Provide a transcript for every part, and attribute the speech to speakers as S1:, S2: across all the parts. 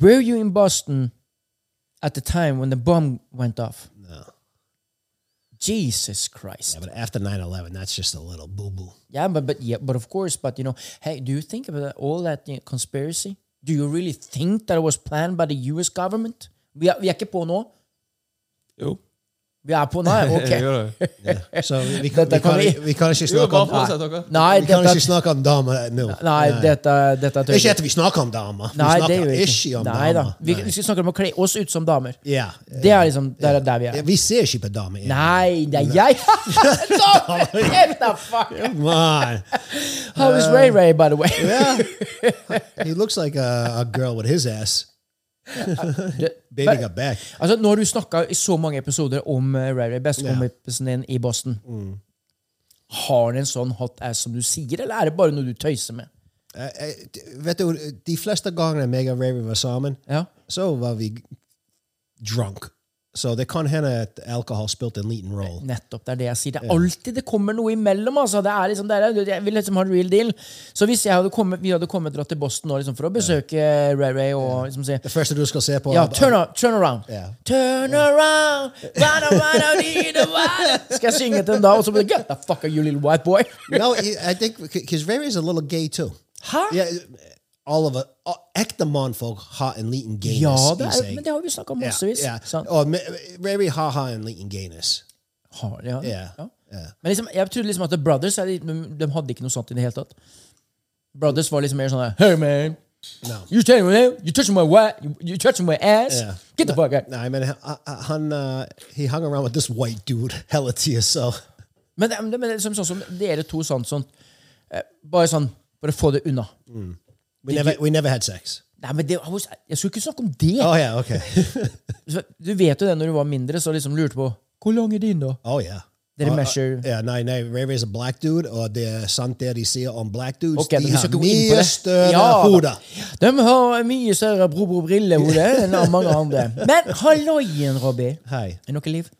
S1: Were you in Boston at the time when the bomb went off?
S2: No.
S1: Jesus Christ.
S2: Yeah, but after 9 11, that's just a little boo boo.
S1: Yeah, but but yeah, but of course, but you know, hey, do you think about that, all that you know, conspiracy? Do you really think that it was planned by the US government? Vi er, vi er ikke på nå.
S3: Jo.
S1: Vi er på nå, ja,
S3: Jeg
S1: ok.
S3: gjør det.
S2: Så vi, vi, kan,
S1: Dette
S2: vi,
S1: kan
S2: kan,
S1: vi-
S2: vi kan ikke
S3: Jo,
S2: snakke
S3: bare
S2: om
S3: fortsett, dere.
S1: Nei,
S2: Vi kan
S1: dette,
S2: ikke snakke om damer nå.
S1: nei, dette, dette tør
S2: er Ikke
S1: jeg
S2: etter vi snakker om damer. Vi
S1: Nei, det
S2: snakker
S1: gjør vi
S2: ikke
S1: ikke.
S2: om
S1: Nei da.
S2: damer.
S1: Vi, vi skal snakke om å kle oss ut som damer.
S2: Ja.
S1: Det er liksom der, er der vi
S2: Ja,
S1: er.
S2: Vi ser ikke på damer. ja.
S1: Nei, det er jeg! Damer! Get the fuck out.
S2: Man.
S1: How is Ray Ray, by the way?
S2: Yeah. He looks like a, a girl with his ass. Baby got back.
S1: Altså, nå har du snakka i så mange episoder om eh, Ray Ray, bestekompisen din i Boston. Har han en sånn hot ass som du sier, eller er det bare noe du tøyser med?
S2: Uh, Vet du, de fleste gangene meg og Raven var sammen,
S1: Ja.
S2: så var vi drunk. Så det kan hende at alkohol spilte en liten rolle.
S1: Nettopp, det er det jeg sier. Det er alltid det kommer noe imellom. altså. Det er liksom, det er, jeg vil liksom ha en real deal. Så hvis jeg hadde kommet, vi hadde kommet dratt til Boston nå liksom, for å besøke Ray Ray og liksom si
S2: Det første du skal se på
S1: ja, turn, ar- turn around.
S2: Ja.
S1: Turn around! Wada, wada, dida, wada. Skal jeg synge til dem da? Og så blir det Get the fuck are you little white boy?
S2: No, I think because Raven is a little gay too.
S1: Hæ?
S2: Yeah, all of a, uh, ekte mannfolk har en liten gayness
S1: Ja, det
S2: i
S1: er,
S2: seg.
S1: men det har vi snakka om
S2: Ja,
S1: massevis.
S2: ja.
S1: sant?
S2: Og me- Raven har har en liten gayness.
S1: Har, ja.
S2: Ja,
S1: Ja.
S2: ja.
S1: Men liksom, jeg trodde liksom at The Brothers er de, de hadde ikke noe sånt i det hele tatt. Brothers var liksom mer sånn der, Hey man,
S2: No.
S1: you touching my, you touching my, wa- you, you touching my ass.
S2: Yeah.
S1: Get the fuck out.
S2: Nah, I mean, I, I, hun, uh, he hung around with this white dude hella to yourself.
S1: Men, det- men det er liksom sånn som dere to sånn, sånn eh, Bare sånn for å få det unna.
S2: We never, we never had sex.
S1: Nei, men det, Jeg skulle ikke snakke om det!
S2: Oh yeah, okay.
S1: Du vet jo det når du var mindre, så liksom lurte på Hvor lang er din, da?
S2: oh yeah.
S1: Dere
S2: Uh,
S1: measure
S2: Yeah, no, no. Ray Ray's a black dude, or the son there, they see on black dudes.
S1: Ok,
S2: de
S1: vi skal
S2: har
S1: ikke gå inn på
S2: mye
S1: det.
S2: større
S1: Ja, da.
S2: hoder.
S1: De har mye større brobro-brillehode enn mange andre. Men halloien, Robbie.
S2: Hei.
S1: Er det noe liv?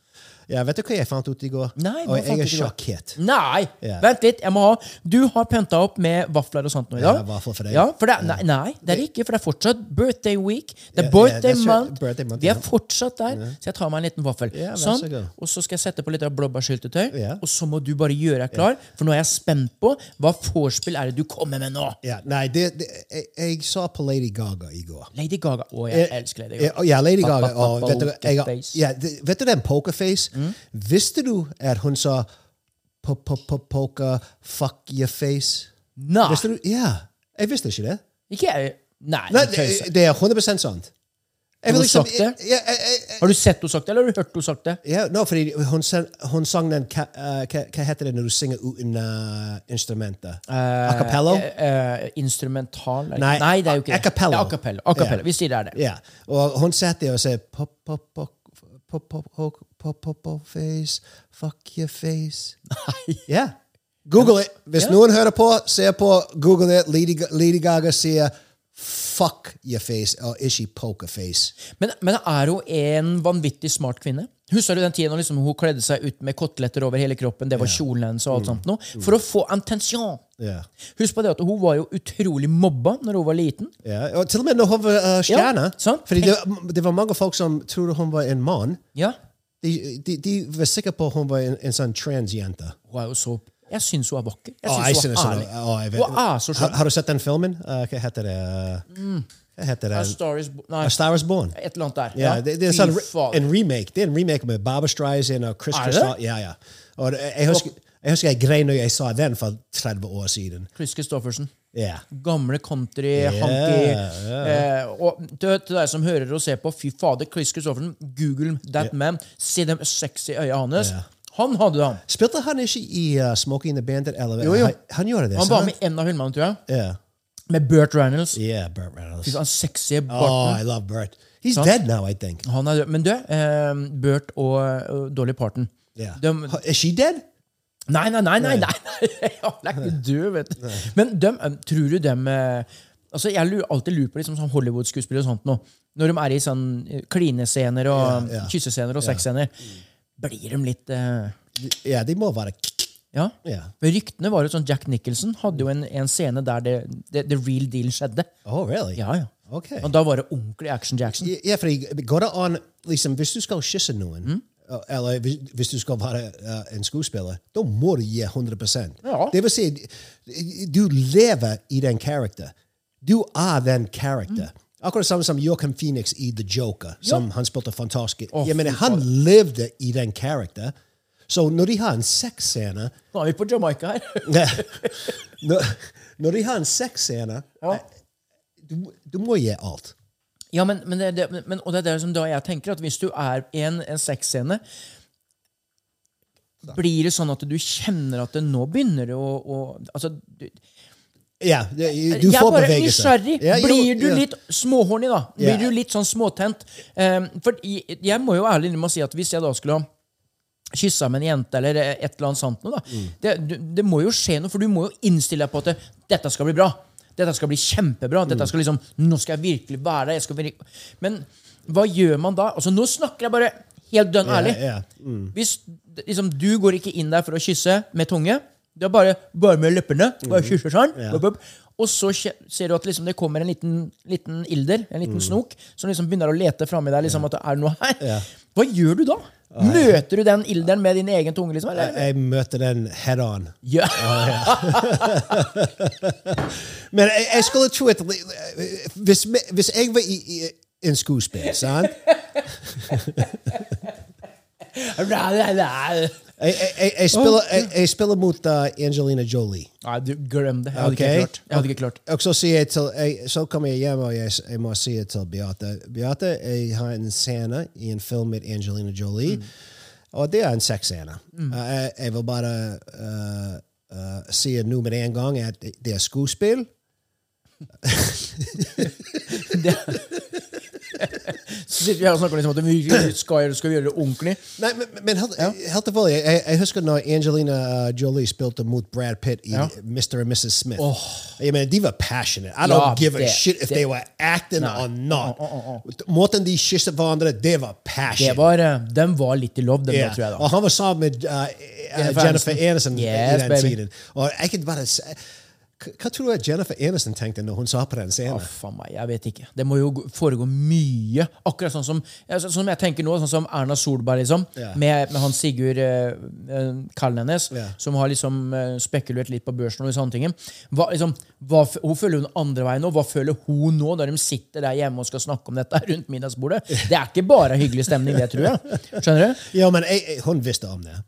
S2: Ja, vet du hva jeg fant ut i går?
S1: Nei, hva
S2: og jeg
S1: fant
S2: er
S1: du i går?
S2: sjokkert.
S1: Nei!
S2: Ja.
S1: Vent litt. jeg må ha Du har pynta opp med vafler og sånt nå i dag.
S2: Ja, vafler for deg.
S1: Ja, for det, er- nei, nei, det er det ikke, for det er fortsatt birthday week. Det
S2: Ja,
S1: er birthday,
S2: ja, det er
S1: month.
S2: birthday month,
S1: Vi er
S2: ja.
S1: fortsatt der. Så jeg tar meg en liten vaffel.
S2: Ja, vær så
S1: sånn.
S2: god.
S1: Og så skal jeg sette på litt av blåbærsyltetøy.
S2: Ja.
S1: Og så må du bare gjøre deg klar, for nå er jeg spent på hva vorspiel er det du kommer med nå.
S2: Ja, nei, det, det, jeg, jeg så på Lady Gaga i går.
S1: Lady Gaga. Å, jeg elsker Lady Gaga.
S2: Eh, Ja, ja, Lady
S1: Ba,
S2: Gaga.
S1: ba, ba,
S2: og vet, du, jeg, har-
S1: pokerface. Mm.
S2: ja, det- vet du den pokerface? Visste du at hun sa po- po- po- poker, fuck your face?
S1: Nei.
S2: Visste du? Ja. Jeg visste ikke det.
S1: Ikke jeg. Nei,
S2: Nei,
S1: du
S2: det,
S1: tøyser.
S2: det er 100 sant.
S1: Har
S2: Jeg vil
S1: hun
S2: liksom-
S1: sagt det?
S2: Ja, jeg- jeg-
S1: Har du sett henne sagt det, eller har du hørt henne sagt det?
S2: ja, no, fordi hun, sang- hun sang den ka- eh, Hva hva heter det når du synger uten uh, instrumenter? a cappello?
S1: Eh, instrumental? er det
S2: Nei,
S1: ikke? Nei, det er jo ikke det.
S2: a cappella.
S1: Ja, a cappella. A cappella. Vi sier det er det.
S2: Ja. Og hun satt der og sa pop, pop, pop, pop, pop, pop, pop, pop, face, fuck your face. Ja. Google it. Hvis noen hører på, ser på, google it. Lady, Ga- Lady Gaga sier 'fuck your face', or 'is she poker face'?
S1: Men, men det er jo en vanvittig smart kvinne. Husker du den tiden når liksom hun kledde seg ut med koteletter over hele kroppen? Det var kjolen hennes
S2: Mm.
S1: og alt sånt noe. For å få attention.
S2: Ja.
S1: Husk på det at hun var jo utrolig mobba når hun var liten.
S2: Ja, og til og med når hun var uh, stjerne.
S1: sant.
S2: fordi det, det var mange folk som trodde hun var en mann.
S1: Ja,
S2: De, de, de var sikre på at hun var en, en sånn transjente.
S1: hun er jo så... Jeg syns hun er vakker. Jeg
S2: Å,
S1: syns hun
S2: synes
S1: er
S2: hun-
S1: herlig.
S2: å, jeg vet-
S1: Hun er så
S2: har,
S1: skjønn.
S2: har du sett den filmen? Uh, hva heter det? Uh, Hva heter
S1: A
S2: det?
S1: Star Ah, Is Bo- Nei,
S2: A Star Is Born.
S1: et eller annet der.
S2: Ja, det, det er
S1: Fy
S2: sånn, re-
S1: faen.
S2: en remake. Det er en remake med Barbra Streisand og Chris
S1: Er det?
S2: Christopher. Ja, ja. Og det- jeg, husker, jeg husker jeg grein når jeg sa den eh, for 30 år siden.
S1: Chris Christoffersen.
S2: Ja.
S1: Gamle country, hanky eh, Og til, til deg som hører og ser på, fy fader, Chris Christoffersen, google that man. Se de sexy øya hans.
S2: Ja.
S1: Han hadde han.
S2: Spilte han ikke i uh, Smokey and the Bandit? Eller,
S1: Jo, jo.
S2: Han, han gjorde det.
S1: Han
S2: sant?
S1: var med i en av filmene, tror jeg.
S2: Ja.
S1: Med Burt Reynolds.
S2: Yeah, Burt Reynolds.
S1: Den sexy
S2: Oh,
S1: barten.
S2: I love Burt. He's dead now, I think.
S1: Han er død. Men du, eh, Burt og, og Dolly Parton
S2: Yeah.
S1: de,
S2: Is she dead?
S1: Nei, nei, nei, nei, nei. nei. Han er ikke død, vet du. Men dem, eh, tror du dem eh, Altså, Jeg lurer, alltid lurer på liksom, sånn Hollywood-skuespillere og sånt nå. Når de er i sånn eh, klinescener og
S2: Ja, ja.
S1: kyssescener og sexscener, blir de litt eh,
S2: Ja, de må være
S1: Ja.
S2: Ja.
S1: Men Ryktene var jo sånn Jack Nicholson hadde jo en, en scene der det, det, the real deal skjedde.
S2: Oh, really?
S1: Ja, ja.
S2: Okay.
S1: Og da var det ordentlig Action Jackson.
S2: Ja, fordi går det an liksom, Hvis du skal kysse noen,
S1: Mm.
S2: eh, eller hvis, hvis du skal være eh, en skuespiller, da må du gi 100
S1: Ja.
S2: Det vil si, du lever i den karakter. Du er den karakter.
S1: Mm.
S2: Akkurat samme som Joachim Phoenix i The Joker, som han spilte fantastisk. Jeg mener, han levde i den karakter. Så når de har en sexscene
S1: Nå er vi på Jamaica her.
S2: når, når de har en sexscene eh,
S1: Ja.
S2: du, du må gi alt.
S1: Ja, men, men, det, det, men og det er det som da jeg tenker at hvis du er i en, en sexscene blir det sånn at du kjenner at det nå begynner det å, å altså, du,
S2: Ja, du du
S1: Jeg er
S2: får
S1: bare
S2: bevegelse.
S1: nysgjerrig.
S2: Ja, jo,
S1: Blir du
S2: ja.
S1: litt småhorny, da? Blir
S2: Ja.
S1: du litt sånn småtent? Um, for jeg, jeg må jo ærlig innrømme å si at hvis jeg da skulle ha kyssa med en jente, eller et eller annet sånt noe, da
S2: Mm.
S1: det, du- det må jo skje noe, for du må jo innstille deg på at dette skal bli bra. Dette skal bli
S2: Mm.
S1: kjempebra. Dette skal liksom, nå skal jeg virkelig være der. Jeg skal virke... Men hva gjør man da? Altså, nå snakker jeg bare helt dønn ærlig.
S2: ja,
S1: Hvis liksom, du går ikke inn der for å kysse med tunge, det er bare, bare med leppene,
S2: Mm.
S1: bare kysser sånn, bup, bup. og så kje- ser du at liksom, det kommer en liten, liten ilder, en liten snok, som liksom begynner å lete framme i deg, liksom, at det er noe her.
S2: Mm. Ja.
S1: Hva gjør du da? Møter du den ilderen med din egen tunge? liksom?
S2: Jeg,
S1: Eller?
S2: jeg møter den head on.
S1: Ja.
S2: Men jeg, jeg skulle tro at hvis, me- hvis jeg var i, i en skuespiller, sant?
S1: Nei,
S2: Jeg, jeg, jeg, jeg, spiller, jeg, jeg spiller mot uh, Angelina Jolie.
S1: du, glem det. Jeg hadde
S2: Ok.
S1: ikke klart. Jeg hadde ikke klart.
S2: Og så, sier jeg til, jeg, så kommer jeg hjem og jeg, s- jeg må si til Beate Beate, jeg har en scene i en film med Angelina Jolie, og det er en sexscene. Uh, jeg, jeg vil bare uh, uh, si nå med en gang at det det er skuespill.
S1: Så sitter vi her og snakker liksom at vi virkelig skal, gjøre- skal vi gjøre det ordentlig.
S2: Nei, men, men helt, helt alvorlig, jeg, jeg husker når Angelina uh, Jolie spilte mot Brad Pitt i
S1: Ja.
S2: Mr. and Mrs. Smith. Eh, Jeg mener, de var passionate. I
S1: Ja,
S2: don't give a
S1: det-
S2: shit if
S1: det-
S2: Oh. they Uh, were acting
S1: Nei.
S2: or not. Måten de kysset hverandre, det var passion.
S1: Det var, eh, den var litt i love, den
S2: Ja,
S1: da, tror jeg. da.
S2: Og han var sammen med uh, uh,
S1: Jennifer
S2: Jennifer
S1: Aniston.
S2: Aniston i
S1: Yes,
S2: den
S1: baby.
S2: tiden. Og jeg kan bare si, hva- hva tror du Jennifer Aniston tenkte når hun sa på den scenen?
S1: Å, faen meg, jeg vet ikke. Det må jo gå- foregå mye. Akkurat sånn som, ja, så- sånn som jeg tenker nå, sånn som Erna Solberg, liksom.
S2: Ja.
S1: Med, med han Sigurd eh, eh, kallen hennes,
S2: Ja.
S1: som har liksom eh, spekulert litt på børsen og sånne ting. Hva, liksom, hva, f- hun føler hun andre veien nå. Hva føler hun nå, når de sitter der hjemme og skal snakke om dette rundt middagsbordet? Det er ikke bare hyggelig stemning, det, tror jeg. Skjønner du?
S2: Ja, men jeg, jeg, hun visste om det.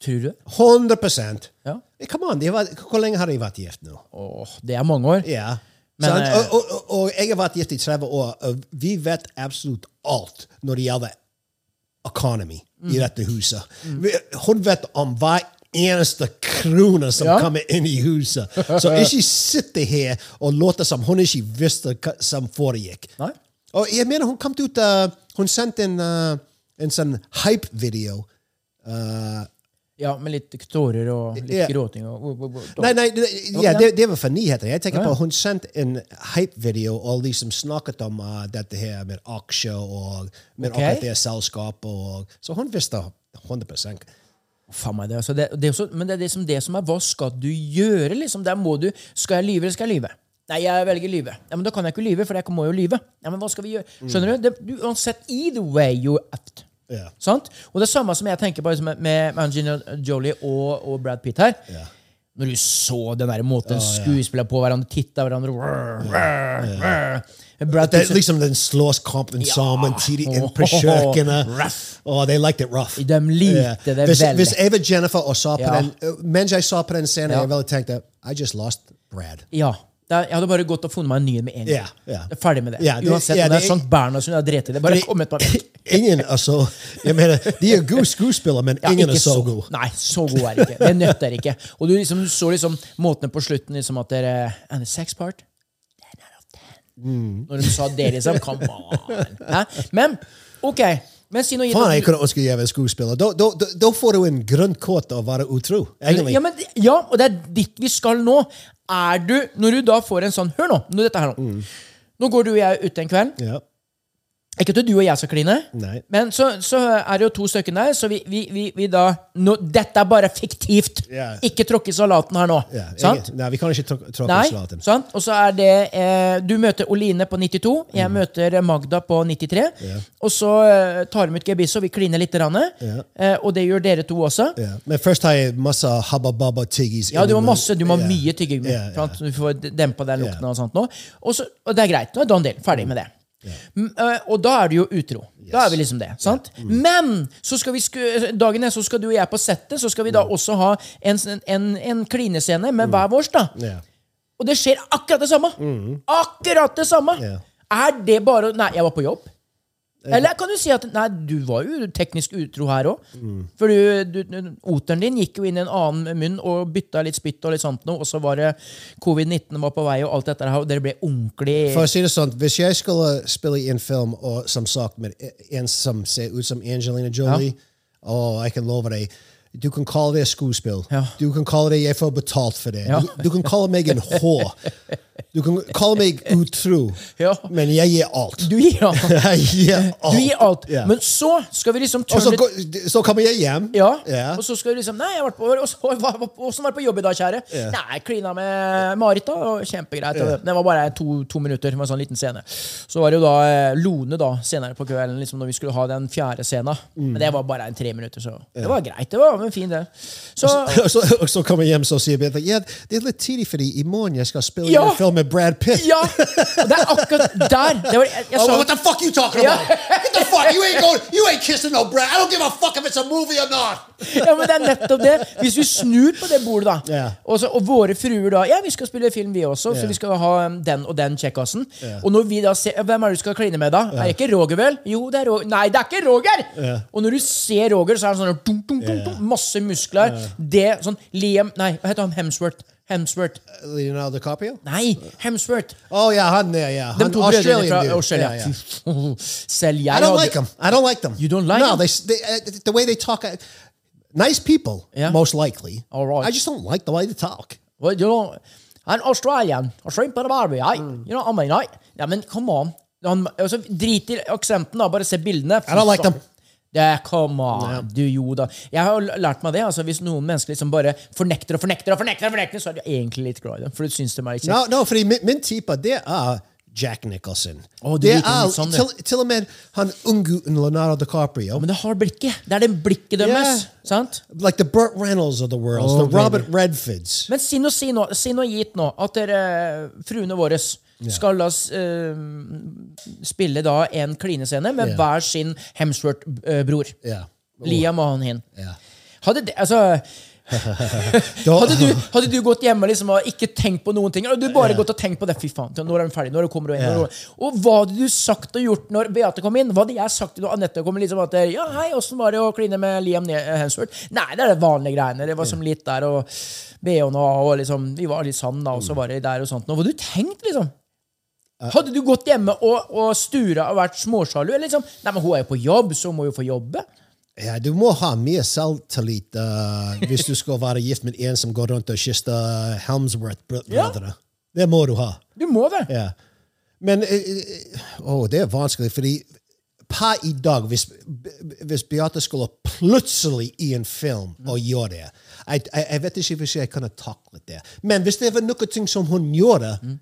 S1: Tror du det?
S2: 100
S1: Ja.
S2: Come on, de var, Hvor lenge har de vært gift nå?
S1: Åh, det er mange år.
S2: Ja.
S1: Men,
S2: Sant?
S1: eh,
S2: og, og, og, og jeg har vært gift i 30 år, og vi vet absolutt alt når det gjelder economy
S1: Mm.
S2: i dette huset. Vi, hun vet om hver eneste krone som
S1: Ja.
S2: kommer inn i huset. Så ikke sitte her og låte som hun ikke visste hva som foregikk.
S1: Nei.
S2: Og jeg mener, hun eh, kom ut uh, Hun sendte en, uh, en sånn hype-video. Uh,
S1: Ja, med litt tårer og litt
S2: Ja.
S1: gråting. Og, og, og, og,
S2: Nei, nei, det- ja, det, det var for nyheter. Jeg tenker
S1: Ja, ja.
S2: på Hun sendte en hype-video og liksom snakket om eh, dette her med aksjer og med
S1: Ok.
S2: akkurat det selskapet. Og, så hun visste 100
S1: Faen meg det, altså det, det er også, Men det er liksom det som er Hva skal du gjøre? liksom? Der må du, Skal jeg lyve, eller skal jeg lyve? Nei, jeg velger lyve. Ja, Men da kan jeg ikke lyve, for jeg må jo lyve. Ja, men hva skal vi gjøre? Skjønner du? Det, du uansett, either way you act.
S2: Mm. Ja.
S1: Sant? Og det er samme som jeg tenker på liksom, med med Angelina Jolie og, og Brad Pitt her. Når du så den der måten skuespillere på hverandre, titta hverandre rrr, rrr, rrr. Brad
S2: Det
S1: Pitt
S2: er liksom den slåsskampen sammen, tidlig inn på kjøkkenet.
S1: Rough.
S2: Og Oh, they liked it rough.
S1: De likte det
S2: hvis,
S1: veldig.
S2: Hvis jeg var Jennifer og så på
S1: Ja.
S2: den, eh, mens jeg så på den scenen,
S1: Ja.
S2: jeg ville tenkt at eh, I just lost Brad.
S1: Ja. Det er, jeg hadde bare gått og funnet meg en ny med en gang.
S2: Ja, ja.
S1: Jeg er Ferdig med det.
S2: Ja, det-
S1: Uansett
S2: ja,
S1: om det er
S2: det-
S1: Sankt Bernhardsen eller Drete. Det bare
S2: Fordi-
S1: kommet meg vekk.
S2: Ingen er så Jeg mener, de er gode skuespillere, men
S1: Ja,
S2: ingen
S1: ikke
S2: er så gode.
S1: Nei, så god er det ikke. Det nøtter ikke. Og du liksom, du så liksom måtene på slutten liksom at dere And the sex part? 10 out of 10.
S2: Mm.
S1: Når de sa det, liksom. Come on! Hæ? Men OK. Men si noe gitt
S2: Faen,
S1: at
S2: jeg
S1: du-
S2: kunne ønske jeg var skuespiller. Da, da, da, da får du en grønn kort av å være utro. Egentlig.
S1: Ja, men, ja, og det er dit vi skal nå. Er du, Når du da får en sånn Hør nå! nå dette her nå.
S2: Mm.
S1: Nå går du og jeg ut en kveld.
S2: Ja.
S1: Ikke at du og jeg skal kline,
S2: Nei.
S1: men så, så er det jo to stykker der, så vi, vi, vi, vi da nå, Dette er bare fiktivt!
S2: Ja.
S1: Ikke tråkk i salaten her nå.
S2: Ja,
S1: sant?
S2: jeg- Nei, vi kan ikke tråk- tråkke
S1: Nei,
S2: oss laten.
S1: sant? Og så er det eh, Du møter Oline på 92, jeg
S2: Mm.
S1: møter Magda på 93. Og så eh, tar de ut gebisset, og vi kliner litt. Rann,
S2: Ja.
S1: eh, og det gjør dere to også.
S2: Ja. Men først har jeg masse habba-babba-tiggis.
S1: Ja, du må ha
S2: inni munnen.
S1: masse, du må ha
S2: Ja.
S1: mye tyggegummi.
S2: Ja, ja.
S1: sant? Så Du får dempa den lukten
S2: Ja.
S1: og sånt nå. Og, så, og det er greit. Nå er done deal. Ferdig med det. Mm, øh, og da er du jo utro. Da er vi liksom det. sant?
S2: Mm.
S1: Men så skal vi sku, dagen etter så skal du og jeg på settet, så skal vi
S2: Mm.
S1: da også ha en, en, en klinescene med hver vårs. da.
S2: Ja.
S1: Og det skjer akkurat det samme! Akkurat det samme!
S2: Mhm. Ja.
S1: Er det bare å- Nei, jeg var på jobb. Eller kan du si at Nei, du var jo teknisk utro her òg.
S2: Mhm.
S1: For du, du, du- oteren din gikk jo inn i en annen munn og bytta litt spytt og litt sånt noe, og så var det covid-19 var på vei, og alt dette her, og dere ble ordentlig
S2: For å si det sånn, hvis jeg skulle spille i en film oh, og som sagt med en som ser ut som Angelina Jolie, og jeg kan love deg du kan kalle det skuespill.
S1: Ja.
S2: Du kan kalle det 'jeg får betalt for det'.
S1: Ja.
S2: Du, du kan kalle meg en hår. Du kan kalle meg utro.
S1: Ja.
S2: Men jeg gir alt.
S1: Du gir alt.
S2: Jeg gir alt.
S1: Du gir er alt.
S2: Ja.
S1: Men så skal vi liksom
S2: og så,
S1: turn it
S2: går- så kommer jeg hjem.
S1: Ja.
S2: Ja.
S1: Og så skal du liksom Nei, jeg har vært på og så, hva, hva, Hvordan var det på jobb i dag, kjære? Nei, jeg klina med Marit, da. Og kjempegreit. og Det var bare to, to minutter. Det var en sånn liten scene. Så var det jo da eh, Lone, da, senere på kvelden, liksom når vi skulle ha den fjerde scenen. Men det var bare en tre minutter, så det var greit. Det var en fin, det. Så
S2: Og så, og så kommer jeg hjem så sier Bente ja, det er litt tidlig, fordi i morgen jeg skal spille
S1: Ja.
S2: i en film med Brad Pitt.
S1: Ja! og Det er akkurat der. Det var, jeg, jeg
S2: Oh,
S1: sa
S2: what the fuck you talking about? Get the fuck, you ain't going, you ain't kissing no Brad. I don't give a fuck if it's a movie or not.
S1: Ja, men det er nettopp det. Hvis vi snur på det bordet, da,
S2: Ja.
S1: og, så, og våre fruer da Ja, vi skal spille film, vi også, så vi skal ha um, den og den kjekkasen. Og når vi da ser ja, Hvem er det du skal kline med, da? Er det ikke Roger, vel? Jo, det er Roger. Nei, det er ikke Roger! Og når du ser Roger, så er han sånn dum, dum, dum, dum, masse muskler. Det sånn Liam Nei, hva heter han? Hemsworth. Hemsworth.
S2: Leonardo DiCaprio?
S1: Nei, Hemsworth!
S2: Oh, yeah, han, yeah, yeah.
S1: De
S2: Han,
S1: to brødrene fra
S2: dude.
S1: Australia.
S2: Yeah, yeah.
S1: Selv jeg
S2: I don't
S1: hadde-
S2: like them. I don't like them.
S1: You don't like
S2: no,
S1: them?
S2: they, s- they, uh, the way they talk. Uh, nice people,
S1: Yeah.
S2: most likely.
S1: All right.
S2: I just don't like the way they talk.
S1: Well, you know, an Australian, a shrimp and a barbie, aye?
S2: Mm.
S1: You know what I mean, aye? Ja, men come on. Han, altså, drit i aksenten, da. Bare se bildene.
S2: I don't like them.
S1: Ja, come on, du jo da. Jeg har jo lært meg det. altså Hvis noen mennesker liksom bare fornekter og fornekter, og fornekter, og fornekter, så er de egentlig litt glad i dem. For du syns de er litt kjekke.
S2: No, no, fordi min, min type, det er Jack Nicholson.
S1: Åh, du
S2: det
S1: liker
S2: er
S1: litt sånn, du.
S2: til, til og med han unggutten Leonardo DiCaprio.
S1: Men det har blikket. Det er det blikket deres.
S2: Ja.
S1: sant?
S2: like the Burt Reynolds of the world,
S1: Oh,
S2: the Robert Redfords.
S1: Men si noe, si noe, si noe gitt nå, at dere, fruene våre skal la oss eh, spille da en klinescene med
S2: Ja.
S1: hver sin eh, Hemsworth-bror.
S2: Ja.
S1: Liam og han hin.
S2: Ja.
S1: Hadde det, altså...
S2: Da,
S1: Hadde du, hadde du gått hjemme liksom, og ikke tenkt på noen ting og Du bare gått og tenkt på det. Fy faen, nå er de ferdig, nå kommer du inn, nå er det- Og hva hadde du sagt og gjort når Beate kom inn? Hva hadde jeg sagt når Anette kom inn? Liksom at, ja, hei, åssen var det å kline med Liam Ne- Hemsworth? Nei, det er det vanlige greiene. Det var som litt der og BH-en og, og liksom, Vi var litt sand da, og så var det der og sånt. Nå, hva hadde du tenkt, liksom? Hadde du gått hjemme og, og stura og vært småsjalu? Eller liksom, nei, men hun er jo på jobb, så hun må jo få jobbe.
S2: Ja, du må ha mer selvtillit eh, hvis du skal være gift med en som går rundt og kysser Helmsworth-brødrene. Det må du ha.
S1: Du må det!
S2: Ja. Men eh, eh, åh, det er vanskelig, fordi per i dag, hvis, hvis Beate skulle plutselig i en film
S1: Mm.
S2: og gjøre det jeg, jeg, jeg vet ikke hvis jeg kunne taklet det. Men hvis det var noe ting som hun gjorde
S1: Mm.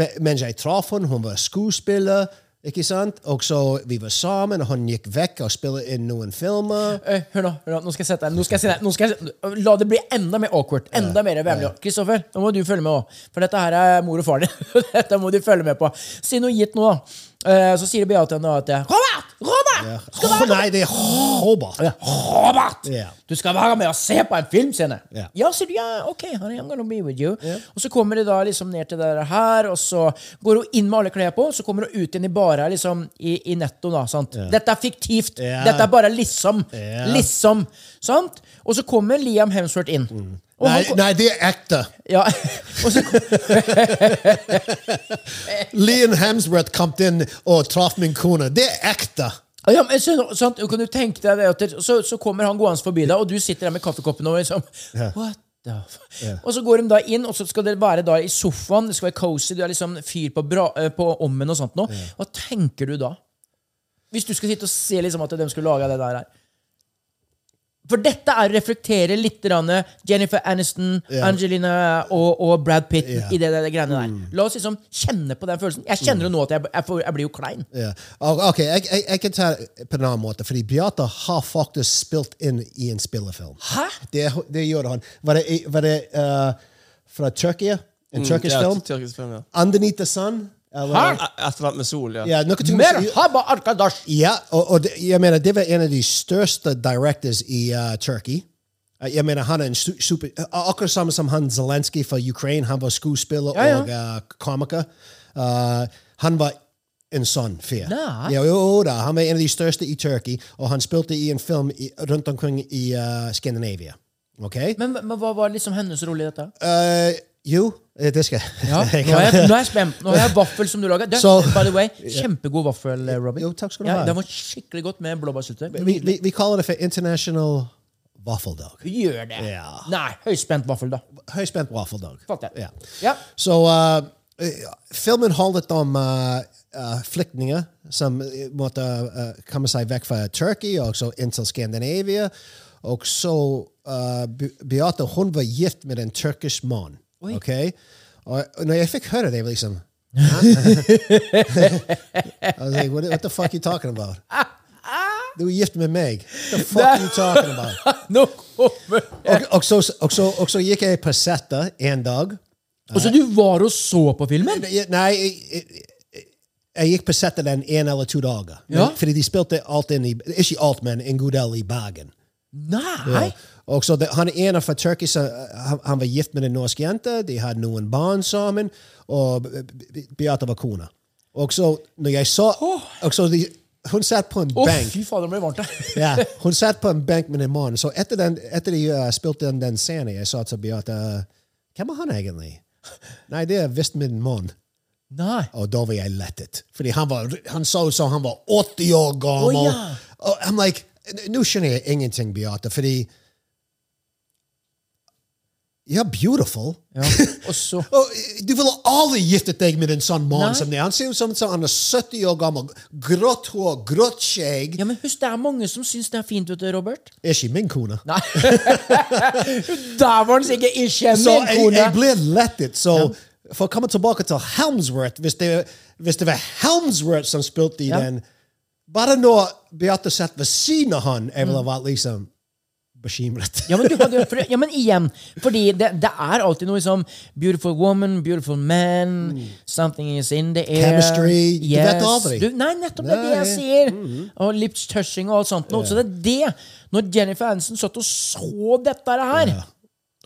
S2: me- mens jeg traff henne, hun var skuespiller, ikke sant? og så vi var sammen, og hun gikk vekk og spilte inn noen filmer
S1: Eh, Hør nå, hør nå, nå skal jeg sette deg. Nå skal jeg sette deg. Nå skal jeg, la det bli enda mer awkward. Enda mer vemmelig. Kristoffer, nå må du følge med òg. For dette her er mor og far din. dette må du følge med på. Si noe gitt nå, da. Eh, Så sier Beate nå at jeg Robert! Robert! Skal
S2: Åh,
S1: være
S2: Nei, det er Robert!
S1: Ja, Robert!
S2: Ja.
S1: Du skal være med og se på en filmscene!
S2: Ja.
S1: Ja, sier du. Ja, ok, honey, I'm gonna be with you. Og så kommer de da liksom ned til det her, og så går hun inn med alle klær på, og så kommer hun ut igjen i bare her, liksom, i, i netto, da. sant? Dette er fiktivt!
S2: Ja.
S1: Dette er bare liksom.
S2: Ja.
S1: Liksom. Sant? Og så kommer Liam Hemsworth inn. Og
S2: Mm. Nei,
S1: han ko-
S2: nei, det er ekte.
S1: Ja, og så
S2: Leon Hemsworth kom inn og traff min kone. Det er ekte.
S1: Ja, men så, sant, kan du tenke deg det at det- så, så kommer han gående forbi deg, og du sitter der med kaffekoppen og liksom What the f Og så går de da inn, og så skal dere være da i sofaen, det skal være cozy, du er liksom fyr på, bra, eh, på ommen og sånt noe. Hva tenker du da? Hvis du skulle sitte og se liksom at de skulle lage det der her. For dette er å reflektere litt grann Jennifer Aniston, Angelina og, og Brad Pitt i det, det, det greiene der. La oss liksom kjenne på den følelsen. Jeg kjenner jo nå at jeg, jeg, får, jeg blir jo klein.
S2: Ja. Og- Ok, jeg, jeg, jeg kan ta det på en annen måte, fordi Beate har faktisk spilt inn i en spillefilm.
S1: Hæ?
S2: Det, det gjorde hun. Var det, var det eh, fra Tyrkia? En tyrkisk
S3: ja,
S2: film?
S3: tyrkisk film, ja.
S2: Underneath the Sun? Uh, Eller,
S3: Ettervant med sol, ja.
S2: Ja, noe ting-
S1: Merhaba arkadash!
S2: Ja, og, og det, jeg mener, det var en av de største directors i uh, Turkey. Uh, Jeg mener, han er en stu- super... uh, Akkurat samme som han Zelenskyj fra Ukraine. Han var skuespiller
S1: Ja,
S2: og uh, komiker. Uh, han var en sånn fyr.
S1: Nei.
S2: Ja, jo da, han var en av de største i Turkey, og han spilte i en film i, rundt omkring i uh, Skandinavia. Ok?
S1: Men, men hva var liksom hennes rolle i dette?
S2: Uh, jo, eh, det skal jeg.
S1: Ja, nå, er jeg, nå er jeg spent. Nå har jeg vaffel som du lager. Du,
S2: Så-
S1: by the way, Kjempegod vaffel, eh, Robbie.
S2: Jo, takk skal du
S1: ja,
S2: ha.
S1: Den var skikkelig godt med blåbærsyltetøy.
S2: Vi, vi, vi kaller det for International Waffle Dog.
S1: Gjør det!
S2: Ja.
S1: Nei, høyspent vaffel, da.
S2: Høyspent Waffle Dog.
S1: Fuck det.
S2: Ja.
S1: Ja.
S2: Så eh, eh, filmen handlet om eh, eh, flyktninger som eh, måtte eh, komme seg vekk fra Tyrkia og så inn til Skandinavia. Og så eh, Be- Beate hun var gift med en tyrkisk mann. ok? Og når jeg fikk høre det, jeg var liksom I was like, what, what the fuck you talking about? Du er gift med meg. What the fuck you talking about?
S1: Nå kommer
S2: Og, og, så, og, så, og så gikk jeg på settet en dag.
S1: Og så du var og så på filmen?
S2: Ja, Nei, jeg, jeg, jeg gikk på settet den en eller to dager. Men-
S1: Ja.
S2: Fordi de spilte alt inn i Ikke alt, men en god del i Bergen.
S1: Nei!
S2: Og så det, han ene fra Turkey så, uh, han, han var gift med en norsk jente. De hadde noen barn sammen. Og Be- Be- Beate var kona. Og så når jeg så og så de, Hun satt på en
S1: Å,
S2: benk.
S1: fy fader, det ble varmt her.
S2: Ja, hun satt på en benk med en mann. Så etter, den, etter de uh, spilte den, den scenen, jeg sa til Beate Hvem er han egentlig? Nei, det er visst min mann.
S1: Nei.
S2: Og da var jeg lettet. Fordi han, var, han så ut som han var 80 år gammel.
S1: Å, ja.
S2: Og I'm like, Nå skjønner jeg ingenting, Beate, fordi You're beautiful.
S1: Ja. Og så
S2: Og øh, du ville aldri giftet deg med en sånn mann
S1: Nei.
S2: som det. Han ser ut som som han er 70 år gammel. Grått hår, grått skjegg.
S1: Ja, men husk, det er mange som syns det er fint, vet du, Robert.
S2: Er ikke min kone.
S1: Nei. Der var den sikkert ikke
S2: Så
S1: min
S2: jeg,
S1: kone!
S2: jeg ble lettet. Så for å komme tilbake til Helmsworth Hvis det, hvis det var Helmsworth som spilte i
S1: Ja.
S2: den Bare når Beate satt ved siden av han, jeg ville vært liksom bekymret.
S1: Mm. Ja, men, du hadde, jo- for, ja, men igjen, fordi det, det er alltid noe som Beautiful woman, beautiful man, something is in the air.
S2: Chemistry, du vet aldri.
S1: Du- nei, nettopp det er det jeg
S2: Nei. Mhm.
S1: sier. Og lips touching og alt sånt. noe. Så det er det. Når Jennifer Aniston satt og så dette her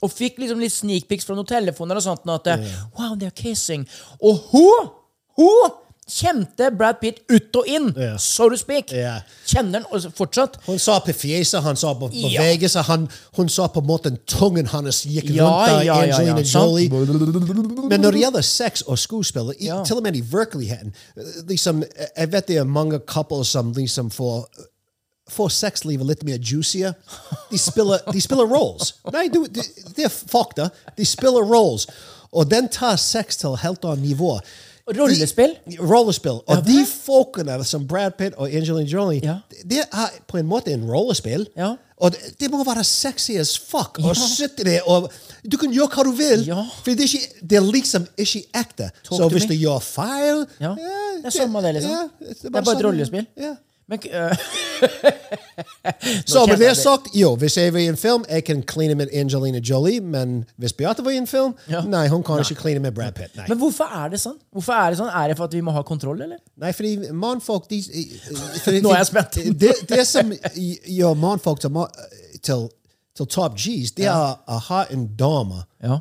S1: Og fikk liksom litt sneak pics fra noen telefoner og sånt. noe At det, Wow, they're kissing. Og hun, hun kjente Brad Pitt ut og inn,
S2: Ja.
S1: so to speak.
S2: Ja.
S1: Kjenner han også fortsatt.
S2: Hun sa på fjeset, han sa på
S1: Ja.
S2: bevegelser, han, hun sa på måten tungen hans gikk
S1: Ja,
S2: rundt der,
S1: ja, ja, ja,
S2: Angelina
S1: sant.
S2: Jolie. Men når det gjelder sex og skuespill, i- eh, til og med i virkeligheten liksom, Jeg vet det er mange couples som liksom får får sekslivet litt mer juicier. De spiller, de spiller roles. Nei, du, de, de er fucked, da. De spiller roles. Og den tar sex til helt annet nivå.
S1: Rollespill?
S2: De, rollespill. Og de folkene som Brad Pitt og Angelina Jolie,
S1: Ja.
S2: det er på en måte en rollespill.
S1: Ja.
S2: Og det, det må være sexy as fuck å sitte der og Du kan gjøre hva du vil,
S1: Ja.
S2: for det er, ikke, det er liksom ikke ekte.
S1: Talk
S2: Så
S1: to
S2: hvis
S1: me.
S2: du gjør feil
S1: Ja.
S2: eh,
S1: Det er samme det, liksom. Det er bare et
S2: sånn-
S1: rollespill.
S2: Ja.
S1: Men, øh,
S2: Så
S1: kjenner
S2: med det
S1: jeg det.
S2: sagt, jo, hvis jeg var i en film, jeg kan kline med Angelina Jolie, men hvis Beate var i en film,
S1: Ja.
S2: nei, hun kan ikke kline med Brad Pitt. Nei,
S1: men hvorfor er det sånn? Hvorfor Er det sånn? Er det for at vi må ha kontroll, eller?
S2: nei fordi mannfolk de, eh, fordi,
S1: Nå er jeg spent.
S2: det, det som gjør mannfolk til, ma- til, til top G's, det er å ha en dame.
S1: Ja.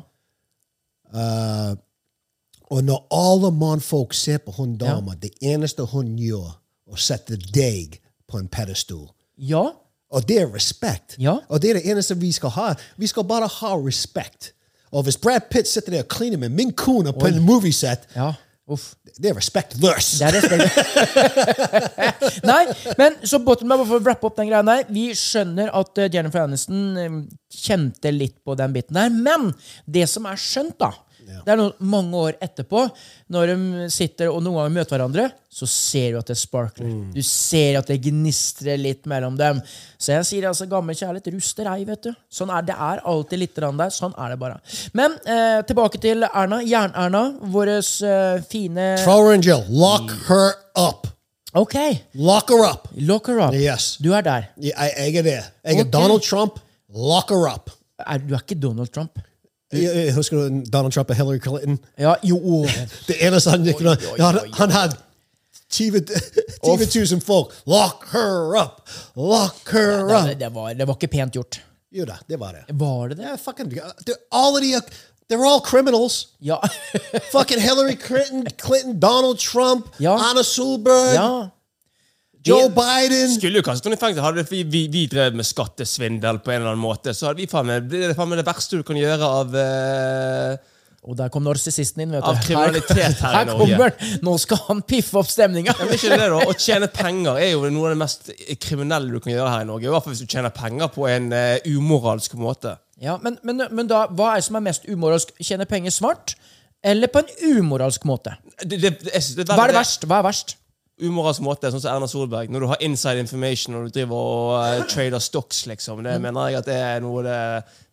S2: Og når alle mannfolk ser på hun dama, det eneste hun gjør, er å sette deg på en pedestal.
S1: Ja?
S2: Og det er respekt.
S1: Ja.
S2: Og det er det eneste vi skal ha. Vi skal bare ha respekt. Og hvis Brad Pitt sitter der og kliner med min kone på en movieset,
S1: ja. Uff.
S2: det er respektløst.
S1: Det er respekt. Nei, men så bottom line, bare for å wrappe opp den greia der Vi skjønner at eh, Jennifer Aniston eh, kjente litt på den biten der. Men det som er skjønt, da Det er noe, mange år etterpå, når de sitter og noen ganger møter hverandre, så ser du at det sparkler. Du ser at det gnistrer litt mellom dem. Så jeg sier altså gammel kjærlighet ruster ei, vet du. Sånn er Det er alltid litt grann der. Sånn er det bare. Men eh, tilbake til Erna. Jern-Erna. Vår eh, fine
S2: Power Angel, lock her up.
S1: Ok.
S2: Lock her up.
S1: Lock her up.
S2: Yes.
S1: Du er der.
S2: Jeg, jeg er det. Jeg er
S1: Ok.
S2: Donald Trump. Lock her up.
S1: Er, du er ikke Donald Trump.
S2: Jeg- jeg Husker du Donald Trump og Hillary Clinton?
S1: Ja, jo. å.
S2: Det eneste han gikk med Han, han hadde 20 000 folk. Lock her up! Lock her up!
S1: Det, det, var, det var ikke pent gjort.
S2: Jo da, det var det.
S1: Var det det?
S2: Yeah, fucking, they're, all of the, they're all criminals.
S1: Ja.
S2: fucking Hillary Clinton, Clinton, Donald Trump,
S1: Ja.
S2: Anna Solberg,
S1: ja.
S2: Joe
S3: Det-
S2: Biden.
S3: Skulle jo kastet henne i fengsel. Hadde vi, vi, vi drevet med skattesvindel på en eller annen måte, så hadde vi faen meg Det er faen meg det verste du kan gjøre av eh,
S1: Og der kom narsissisten inn. vet du.
S3: Av kriminalitet her i
S1: her
S3: Norge.
S1: kommer han. Nå skal han piffe opp stemninga!
S3: Ja, men ikke det da, Å tjene penger er jo noe av det mest kriminelle du kan gjøre her i Norge. I hvert fall hvis du tjener penger på en eh, umoralsk måte.
S1: Ja, men, men, men da, hva er det som er mest umoralsk? Tjene penger svart? Eller på en umoralsk måte?
S3: Det, det, jeg synes det
S1: Hva er det verst? Hva er verst?
S3: Umoralsk måte, sånn som Erna Solberg. Når du har inside information og du driver og eh, trader stocks, liksom. Det mener jeg at det er noe av det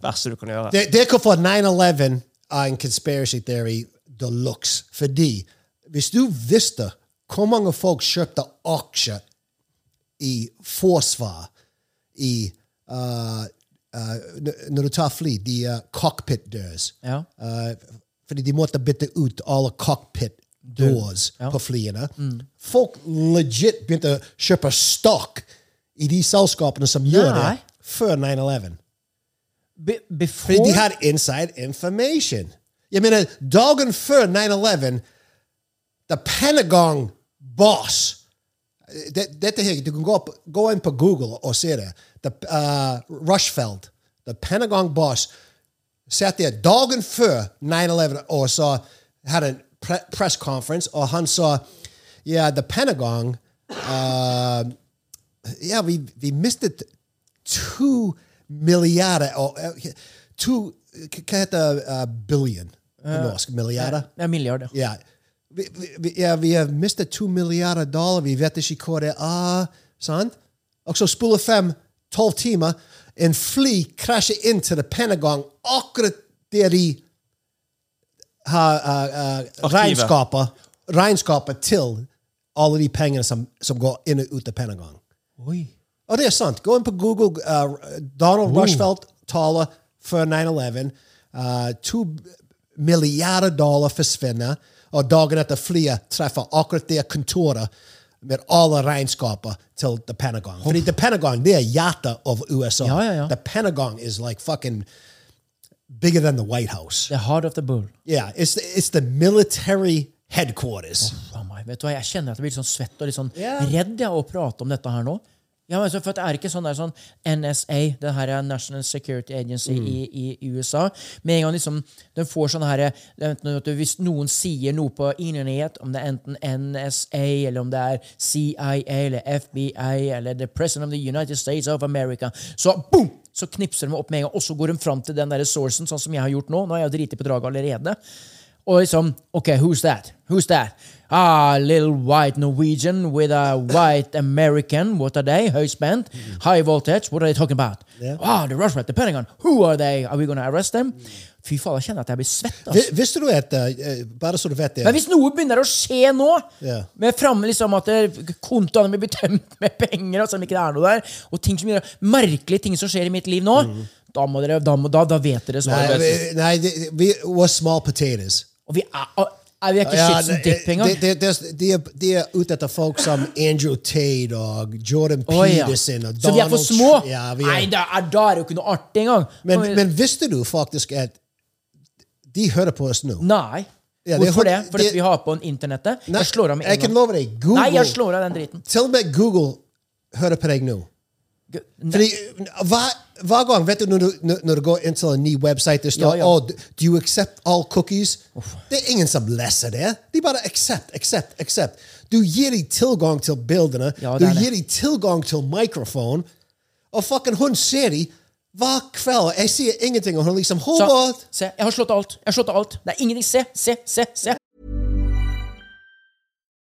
S3: verste du kan gjøre.
S2: They, they could for 9-11 are in conspiracy theory deluxe. Fordi hvis du visste hvor mange folk kjøpte aksjer i forsvar, i uh, uh, n- når du tar fly, de uh, cockpit dørs.
S1: Ja.
S2: Eh, fordi de måtte bytte ut alle cockpit doors på flyene.
S1: Mm.
S2: Folk legit begynte å kjøpe stock i de selskapene som gjør det,
S1: Nei.
S2: før 9-11.
S1: Be, before
S2: Fordi de hadde inside information. uh, Jeg mener, dagen før 9-11, the Pentagon boss Uh, det, dette her, Du kan gå, opp, gå inn på Google og se det. The, uh, Rushfeld, the Pentagon boss, satt der dagen før 9-11 og så hadde en pre press conference, og han sa yeah, the Pentagon uh, yeah, we, we mistet two milliarder or uh, two hva heter uh, billion på norsk? Milliarder?
S1: Ja, milliard, ja.
S2: Ja. Vi, vi- vi, ja, vi har mistet to milliarder dollar, vi vet ikke hva det er. Ah, Sant? Og så spoler fem tolv timer, en fly krasjer inn til The Pentagon akkurat der de har uh, uh, regnskapet, regnskapet til alle de pengene som, som går inn og ut av Pentagon.
S1: Oi.
S2: Og det er sant. Gå inn på Google. Uh, Donald Rushfeldt taler for 9-11. Uh, to milliarder dollar forsvinner. Og dagen etter flyet treffer akkurat det kontoret med alle regnskaper til The Pentagon. Fordi The Pentagon det er hjertet av USA.
S1: Ja, ja, ja.
S2: The Pentagon is like fucking bigger than the White House.
S1: The heart of the bull.
S2: Yeah, it's, it's the military headquarters.
S1: Oh, Faen meg, vet du hva, Jeg kjenner at jeg blir litt sånn svett og litt sånn
S2: Ja.
S1: redd jeg, av å prate om dette her nå. Ja, men altså, for at det er ikke sånn, det er sånn NSA, det her er National Security Agency i, i USA. Med en gang liksom, den får sånn her enten at du- Hvis noen sier noe på internett, om det er enten NSA, eller om det er CIA eller FBI eller The President of the United States of America, så boom! Så knipser de opp med en gang, og så går de fram til den der sourcen, sånn som jeg har gjort nå. Nå er jeg jo driti på draget allerede. Og liksom OK, who's that? Who's that? Ah, little white Norwegian with a white American. What are they? High spent, high voltage. What are they talking about? Ah, the Russian, the Pentagon. Who are they? Are we gonna arrest them? Fy faen, jeg kjenner at jeg blir svett. ass.
S2: Vi- Visste du at eh, Bare så du vet det.
S1: Men hvis noe begynner å skje nå,
S2: Ja.
S1: med fremme liksom at det- kontoene blir tømt med penger, og selv om ikke det er noe der, og ting som gjør merkelige ting som skjer i mitt liv nå, da, må dere, da, må, da, da vet dere
S2: Nei,
S1: svaret.
S2: vi- Mhm. nei det, vi we're small potatoes.
S1: Og vi er, er vi er ikke
S2: Ja,
S1: shit som
S2: det-
S1: dipp engang.
S2: det- det- det- De er, de er ute etter folk som Andrew Tate og Jordan
S1: Å, ja.
S2: Peterson og Donald
S1: Så vi er for små?
S2: Tr- Ja, vi
S1: Nei,
S2: er.
S1: da er, da er det jo ikke noe artig engang.
S2: Men,
S1: Og vi-
S2: men visste du faktisk at de hører på oss nå?
S1: Nei.
S2: Ja, det-
S1: Hvorfor det? Fordi
S2: det-
S1: vi har på en internettet?
S2: Nei,
S1: Jeg slår av med en
S2: jeg kan
S1: gang.
S2: love deg. Google,
S1: Nei, jeg slår av den driten.
S2: Til og med Google hører på deg nå. Fordi hver, hver gang, vet du når, du når- når du går inn til en ny website, det
S1: Ja,
S2: står
S1: ja.
S2: oh, d- do you accept all cookies? Det er ingen som leser det. De bare accept, accept, accept. Du gir dem tilgang til bildene.
S1: Ja,
S2: du
S1: det er det.
S2: gir dem tilgang til mikrofon. Og fucking hun ser dem hver kveld. Jeg sier ingenting, og hun liksom
S1: Så-
S2: Hobart!
S1: se, jeg har slått av alt. Jeg har slått av alt. Det er ingenting. Se, se, se. se.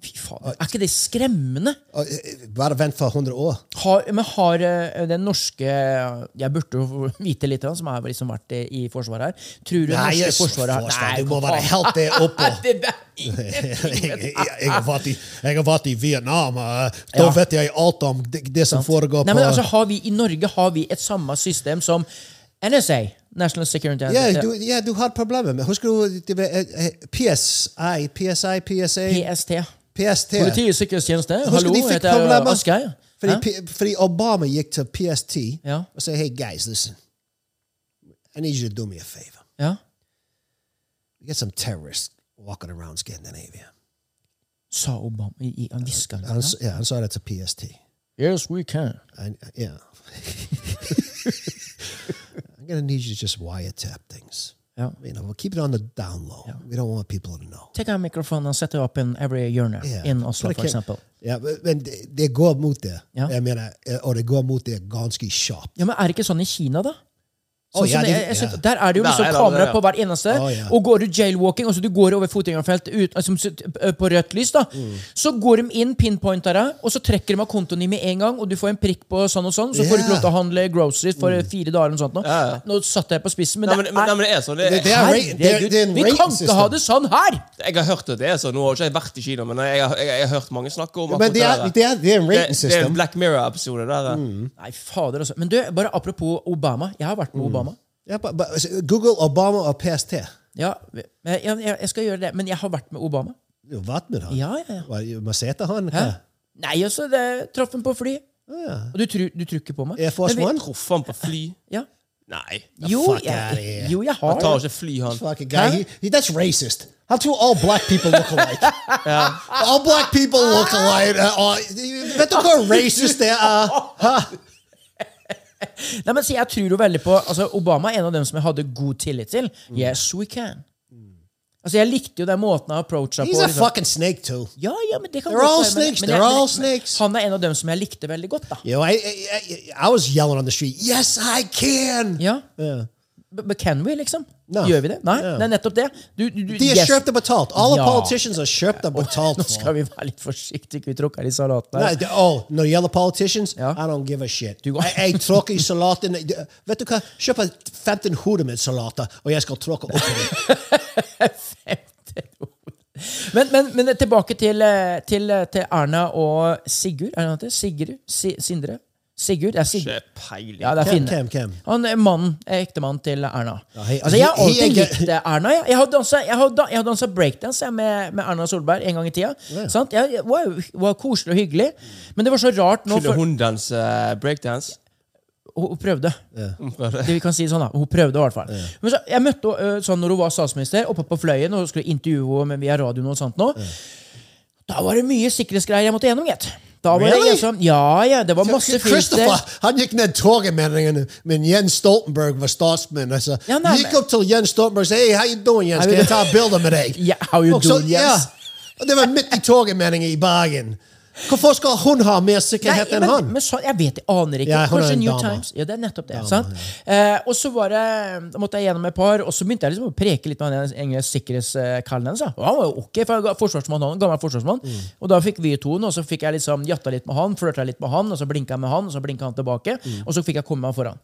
S1: Fy faen. Er ikke det skremmende?
S2: Og, eh, Bare vent for 100 år.
S1: Har, men har eh, den norske eh, Jeg burde jo vite litt, av han som har liksom vært i, i Forsvaret her. Tror du det
S2: Nei,
S1: norske
S2: jeg-
S1: forsvaret har
S2: forsvar, du
S1: Nei,
S2: må
S1: for
S2: være
S1: faen.
S2: helt det oppå.
S1: Det der er ingenting, vet
S2: jeg,
S1: du.
S2: jeg, har vært i, jeg har vært i Vietnam, og da
S1: Ja.
S2: vet jeg alt om det, det som foregår
S1: Nei,
S2: på
S1: men altså, har vi, I Norge har vi et samme system som NSA. National Security
S2: ja,
S1: Agency.
S2: du, ja, du har problemer med Husker du det var, eh, eh, PSI, PSI, PSA,
S1: PST.
S2: PST?
S1: Politiets sikkerhetstjeneste.
S2: Husker
S1: Hallo,
S2: de fikk
S1: heter jeg
S2: problemer?
S1: Asgeir.
S2: Fordi,
S1: Hæ?
S2: P- fordi Obama gikk til PST
S1: Ja.
S2: og sa hey guys, listen, I need you to do me a favor.
S1: Ja.
S2: You Get some terrorists walking around Scandinavia.
S1: Sa Obama. I, i, han hviska.
S2: Han, s- ja, han sa det til PST.
S1: Yes, we can.
S2: I, yeah. I'm going to need you to just wiretap things.
S1: Ja.
S2: you know, we'll keep it on the down low. We don't want people to know.
S1: Take out mikrofonen og sett opp en every hjørne
S2: Yeah.
S1: in Oslo,
S2: But I
S1: for
S2: can't-
S1: eksempel.
S2: Ja, men- men det det går mot det.
S1: Ja.
S2: Jeg mener, og det går mot det ganske kjapt.
S1: Ja, men Er det ikke sånn i Kina, da?
S2: Å,
S1: Sånn
S2: ja,
S1: som
S2: det-
S1: jeg, jeg synes,
S2: ja.
S1: Der er det jo
S3: Der
S1: liksom
S3: er det
S1: kamera
S3: allerede.
S1: på hver eneste.
S2: Å, ja.
S1: Og går du jailwalking, altså du går over fotgjengerfelt ut, altså, på rødt lys, da,
S2: Mm.
S1: så går de inn, pinpointer deg, og så trekker de av kontoen din med en gang, og du får en prikk på sånn og sånn, så får du ikke lov til å handle groceries for
S2: Mm.
S1: fire dager eller noe sånt. Nå, nå satte jeg på spissen, men,
S3: Nei, men,
S1: det
S3: men, nei,
S1: er
S3: men det er sånn. Det,
S2: Det- det er-
S1: Herregud,
S2: det- det er en
S1: Vi kan
S2: rating
S1: ikke ha det sånn her!
S3: jeg har hørt at det er sånn. Nå har ikke jeg vært i Kina, men jeg, har- jeg, jeg har hørt mange snakke om
S2: Men det er, det er, det er en
S3: det,
S2: rating
S3: det er en
S2: system. Mm.
S3: Black Mirror-episode der. eh.
S1: Nei, fader altså. Men du, bare apropos Obama. Jeg har vært
S2: Mm.
S1: med Obama.
S2: Ja, but- but- altså, Google Obama og PST.
S1: Ja, men jeg, jeg, jeg skal gjøre det, men jeg har vært med Obama.
S2: Du har vært med han.
S1: Ja, ja, ja.
S2: Hva, Man ser etter han.
S1: Hæ?
S2: hva?
S1: Nei, altså, det traff en på fly. Og du, tror- du tror ikke på meg?
S2: Air Force
S1: Men vi-
S2: One?
S3: Traff han på fly?
S1: Ja.
S3: Nei.
S1: Jo,
S2: fuck outta
S1: jeg,
S2: here.
S1: jo, jeg
S3: Han tar
S1: har
S3: ikke fly, han.
S2: Fucking guy, he, he- that's racist. How do all black people look alike? All black people look alike. Uh, all, vet du hvor racist they uh, are?
S1: Nei, men så Jeg tror jo veldig på altså Obama er en av dem som jeg hadde god tillit til.
S2: Mm.
S1: Yes, we can. Altså Jeg likte jo den måten han approacha på.
S2: He's a
S1: liksom.
S2: fucking snake too.
S1: Ja, ja, men det kan
S2: They're
S1: godt
S2: all
S1: være, men-
S2: snakes,
S1: men
S2: they're
S1: jeg- men-
S2: all
S1: men
S2: snakes.
S1: Han er en av dem som jeg likte veldig godt. da
S2: You know, I, I I I was yelling on the street. Yes, I can.
S1: Ja B- Men can we, liksom?
S2: No.
S1: Gjør vi det? Nei,
S2: Ja.
S1: det er nettopp det. Du, du, du,
S2: They are
S1: yes.
S2: shirped up atalt. All the
S1: Ja.
S2: politicians are shirped up atalt.
S1: Nå skal vi være litt forsiktige, ikke vi tråkker i salaten.
S2: No,
S1: her.
S2: the- oh, no yellow politicians?
S1: Ja.
S2: I don't give a shit.
S1: Du-
S2: jeg, jeg tråkker i salaten. Vet du hva? Kjøp 15 hoder med salater, og jeg skal tråkke opp på dem.
S1: Femte ord. Men, men, men tilbake til, eh, til, eh, til Erna og Sigurd. Er det han heter? Sigurd? Si, Sindre? Sigurd? Det er Sigurd.
S3: Ikke peiling.
S1: Ja, det er
S2: Hvem,
S1: Finne.
S2: hvem, hvem?
S1: Han er mannen, eh, ektemannen til Erna.
S2: he-
S1: altså, jeg har
S2: he- he
S1: alltid
S2: er gøy.
S1: likt eh, Erna. Jeg, jeg har dansa- jeg har da- jeg har dansa breakdance jeg, med, med Erna Solberg en gang i tida. Sant? Jeg, jeg, wow, var koselig og hyggelig. Men det var så rart nå
S3: Kunne
S1: for,
S3: hun danse eh, breakdance?
S1: hun, hun prøvde. Mm, Det vi kan si sånn da, Hun prøvde, i hvert fall. Men så, jeg møtte henne øh, sånn når hun var statsminister, oppe på Fløyen, og skulle intervjue henne via radioen. og sånt nå. Da var det mye sikkerhetsgreier jeg måtte gjennom, gitt. Da var
S2: Really?
S1: det liksom, ja, ja, det var masse filter.
S2: Christopher, han gikk ned toget med den, men Jens Stoltenberg var statsminister.
S1: Ja,
S2: Ja,
S1: nei,
S2: gikk
S1: men-
S2: opp til Jens Stoltenberg og sa hey, how you doing, Jens?
S1: How you
S2: Kan jeg
S1: do-
S2: ta et bilde med deg?
S1: Ja, how you
S2: Og så-
S1: doing, Jens?
S2: Ja. Og det var midt i toget med den i Bergen. Hvorfor skal hun ha mer
S1: Nei,
S2: sikkerhet
S1: men,
S2: enn han?
S1: men sånn- jeg vet, jeg aner ikke.
S2: Ja, hun er
S1: Kanskje
S2: en
S1: New
S2: dame.
S1: Times. Ja, det er nettopp det. sant? Eh, og så var det, da måtte jeg gjennom et par, og så begynte jeg liksom å preke litt med han ene sikkerhetskallen hennes. da. Og han var jo ok, for han var forsvarsmann, han, gammel forsvarsmann.
S2: Mm.
S1: Og da fikk vi to den, og så fikk jeg liksom jatta litt med han, flørta litt med han, og så blinka jeg med han, og så blinka han tilbake,
S2: Mm.
S1: og så fikk jeg komme meg foran.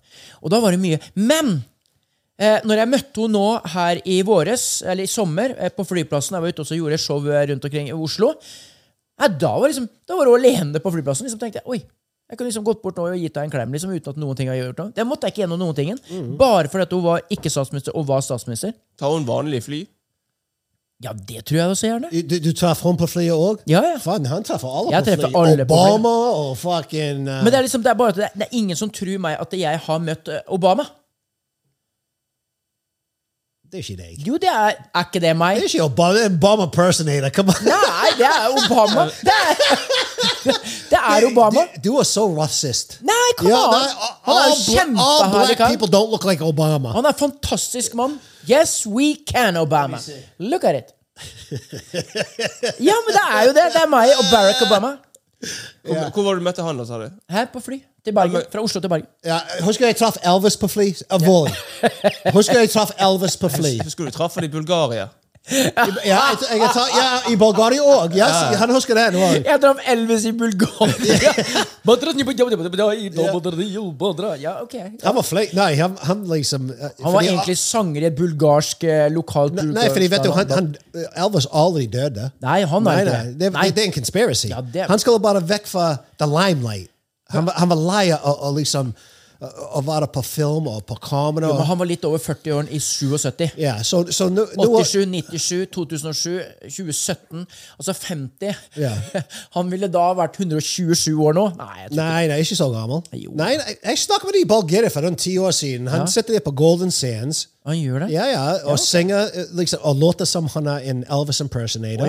S1: Og da var det mye. Men! Eh, når jeg møtte henne nå her i våres, eller i sommer, eh, på flyplassen Jeg var ute og så gjorde show eh, rundt omkring i Oslo. Nei, da var liksom, da var hun alene på flyplassen. Liksom tenkte jeg, oi, jeg kunne liksom gått bort nå og gitt deg en klem liksom, uten at noen ting har gjort noe. Det måtte jeg ikke gjennom noen tingen.
S2: Mm.
S1: Bare fordi at hun var ikke statsminister og var statsminister.
S3: Tar hun vanlig fly?
S1: Ja, det tror jeg også gjerne.
S2: Du, du traff hun på flyet òg?
S1: Ja, ja.
S2: Faen, han treffer alle
S1: Jeg
S2: på
S1: treffer
S2: flyet.
S1: alle på flyet.
S2: Obama og fucking uh,
S1: Men det er liksom, det er bare at det, det er ingen som tror meg at jeg har møtt eh, Obama.
S2: Det er ikke deg.
S1: Jo, det er, er ikke det
S2: Det
S1: meg.
S2: er ikke Obama, det er en Obama personator. Come on.
S1: Nei, det er Obama. Det er, det er Obama.
S2: Du, du er så racist.
S1: Nei, come on. Han er jo
S2: all, all
S1: kjempeherlig
S2: black
S1: kar.
S2: people don't look like Obama.
S1: Han er en fantastisk mann. Yes, we can, Obama. Look at it. Ja, men det er jo det. Det er meg og Barack Obama.
S3: Hvor, hvor var det du møtte han, da, sa du?
S1: Her på fly til Bergen. Fra Oslo til Bergen.
S2: Ja, husker jeg traff Elvis på fly? Alvorlig. Husker jeg traff Elvis på fly?
S3: Jeg husker du traff han i Bulgaria.
S2: Ja, jeg, jeg traff, ja i Bulgaria òg. Yes, han husker den òg.
S1: Jeg traff Elvis i Bulgaria. Badra, nibba, jabba, jabba, jabba, jabba, badra, jabba, badra. Ja, ok.
S2: Han var flink. Nei, han, han liksom eh,
S1: Han var
S2: fordi-
S1: egentlig sanger i et bulgarsk eh, lokalt
S2: Nei, fordi vet du, han, han, Elvis aldri døde.
S1: Nei, han er
S2: Nei,
S1: ikke
S2: nei,
S1: det.
S2: det,
S1: Nei.
S2: det, det er en conspiracy.
S1: Ja, det er-
S2: Han skulle bare vekk fra the limelight. Han, var- han var lei av å- å liksom å å være på film og på kamera.
S1: Men han var litt over 40-åren i 77.
S2: Ja, så, så nå,
S1: Oh,
S2: nå
S1: 87, 97, 2007, 2017. Altså 50.
S2: Ja.
S1: Han ville da vært 127 år nå. Nei, jeg tror
S2: Nei, nei, ikke så gammel.
S1: Jo.
S2: Nei, nei, jeg snakket med de i Bulgaria for rundt ti år siden. Han sitter der på Golden Sands
S1: han gjør det.
S2: ja, ja, og synger eh, liksom, og låter som han er en Elvis impersonator.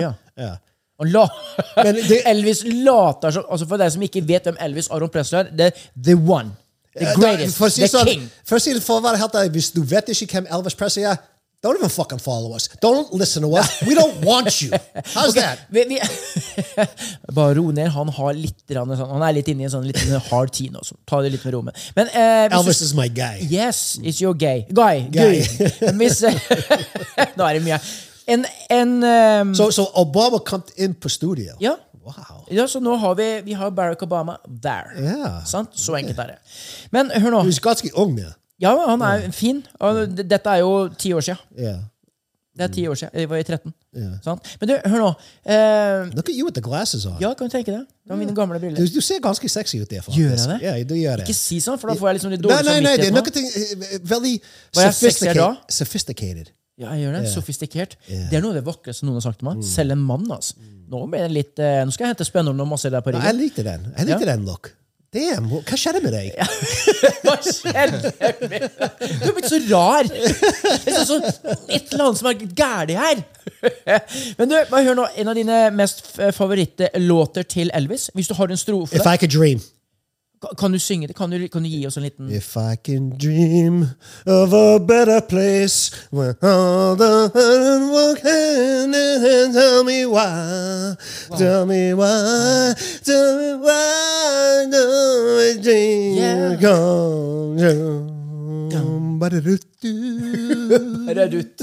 S1: Å, Oh, ja.
S2: Ja.
S1: Han la
S2: Men det-
S1: Elvis later som altså For deg som ikke vet hvem Elvis Aron Presley er, det er The One. The
S2: Eh, da-
S1: Greatest.
S2: for å si
S1: The
S2: sånn-
S1: King.
S2: For å si det for å være helt ærlig, hvis du vet ikke hvem Elvis Presley er, don't even fucking follow us. Don't listen to us. We don't want you. How's that?
S1: Vi, vi Bare ro ned. Han, har litt, grann sånn, han er litt inne i en sånn litt hard tid nå. Så ta det litt med ro med. Men eh, hvis du-
S2: Elvis is my guy.
S1: Yes, it's your gay. Guy.
S2: Guy.
S1: guy. Hvis, nå er det mye. En, en ehm,
S2: So, so Obama kom inn på studio.
S1: Ja.
S2: Wow.
S1: ja, så nå har vi, vi har Barack Obama der.
S2: Ja.
S1: Sant? Så enkelt er det. Men hør nå.
S2: Du er ganske ung nå.
S1: Ja, han er fin. Og d- dette er jo ti år siden.
S2: Yeah.
S1: Det er ti
S2: Mm.
S1: år siden. Jeg var i 13. Sant? Men du, hør nå. Eh,
S2: Look at you with the glasses on.
S1: ja, kan du tenke det? Det var mine gamle briller.
S2: Mm. Du, du ser ganske sexy ut der, faktisk.
S1: Gjør jeg det?
S2: Ja, du gjør det.
S1: Ikke si sånn, for da får jeg liksom litt
S2: Nei,
S1: dårlig
S2: nei, nei, det er noe
S1: samvittighet nå.
S2: ting, eh, eh, veldig
S1: Var jeg sexy
S2: sophisticated.
S1: da?
S2: sophisticated.
S1: Ja, jeg gjør det. Sofistikert. Det er noe av det vakreste noen har sagt
S2: Mm.
S1: til meg. Selv en mann, altså. Nå, ble jeg litt, eh, nå skal jeg hente spennord og masse der på
S2: Nei, jeg
S1: ryggen.
S2: likte den. Jeg likte
S1: Ja.
S2: den look. Damn, hva skjedde med deg?
S1: Hva skjedde med Du er blitt så rar! Det er sånn, sånn et eller annet som er gærent her. Men du, bare hør nå en av dine mest f- favorittlåter til Elvis. Hvis du har en strofe
S2: If I could dream.
S1: Ka- Kan du synge det? Kan du, kan du gi oss en liten
S2: If I can dream of a better place where all the hurt and walk hand in hand, tell me why, tell me why, tell me why don't we dream
S1: Yeah.
S2: come true. Ba-da-do-do.
S1: Rødut?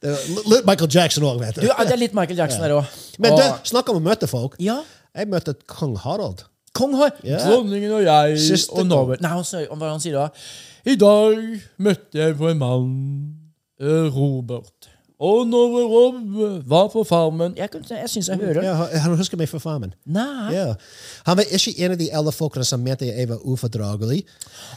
S2: Det var litt Michael Jackson òg, vet
S1: Du,
S2: du.
S1: ja, det er litt Michael Jackson der òg.
S2: Men du, snakk om å møte folk.
S1: Ja.
S2: Jeg møtte kong Harald.
S1: Kong har
S2: Ja.
S1: Dronningen og jeg
S2: Siste
S1: og
S2: kong.
S1: Norbert Nei, han, sier- hva han sier da? I dag møtte jeg på en mann, eh, Robert. Og når Rob var på farmen Jeg, kan- jeg syns jeg hører
S2: Ja, han- han husker meg fra Farmen.
S1: Nei.
S2: Ja. Han var ikke en av de eldre folkene som mente jeg var ufordragelig.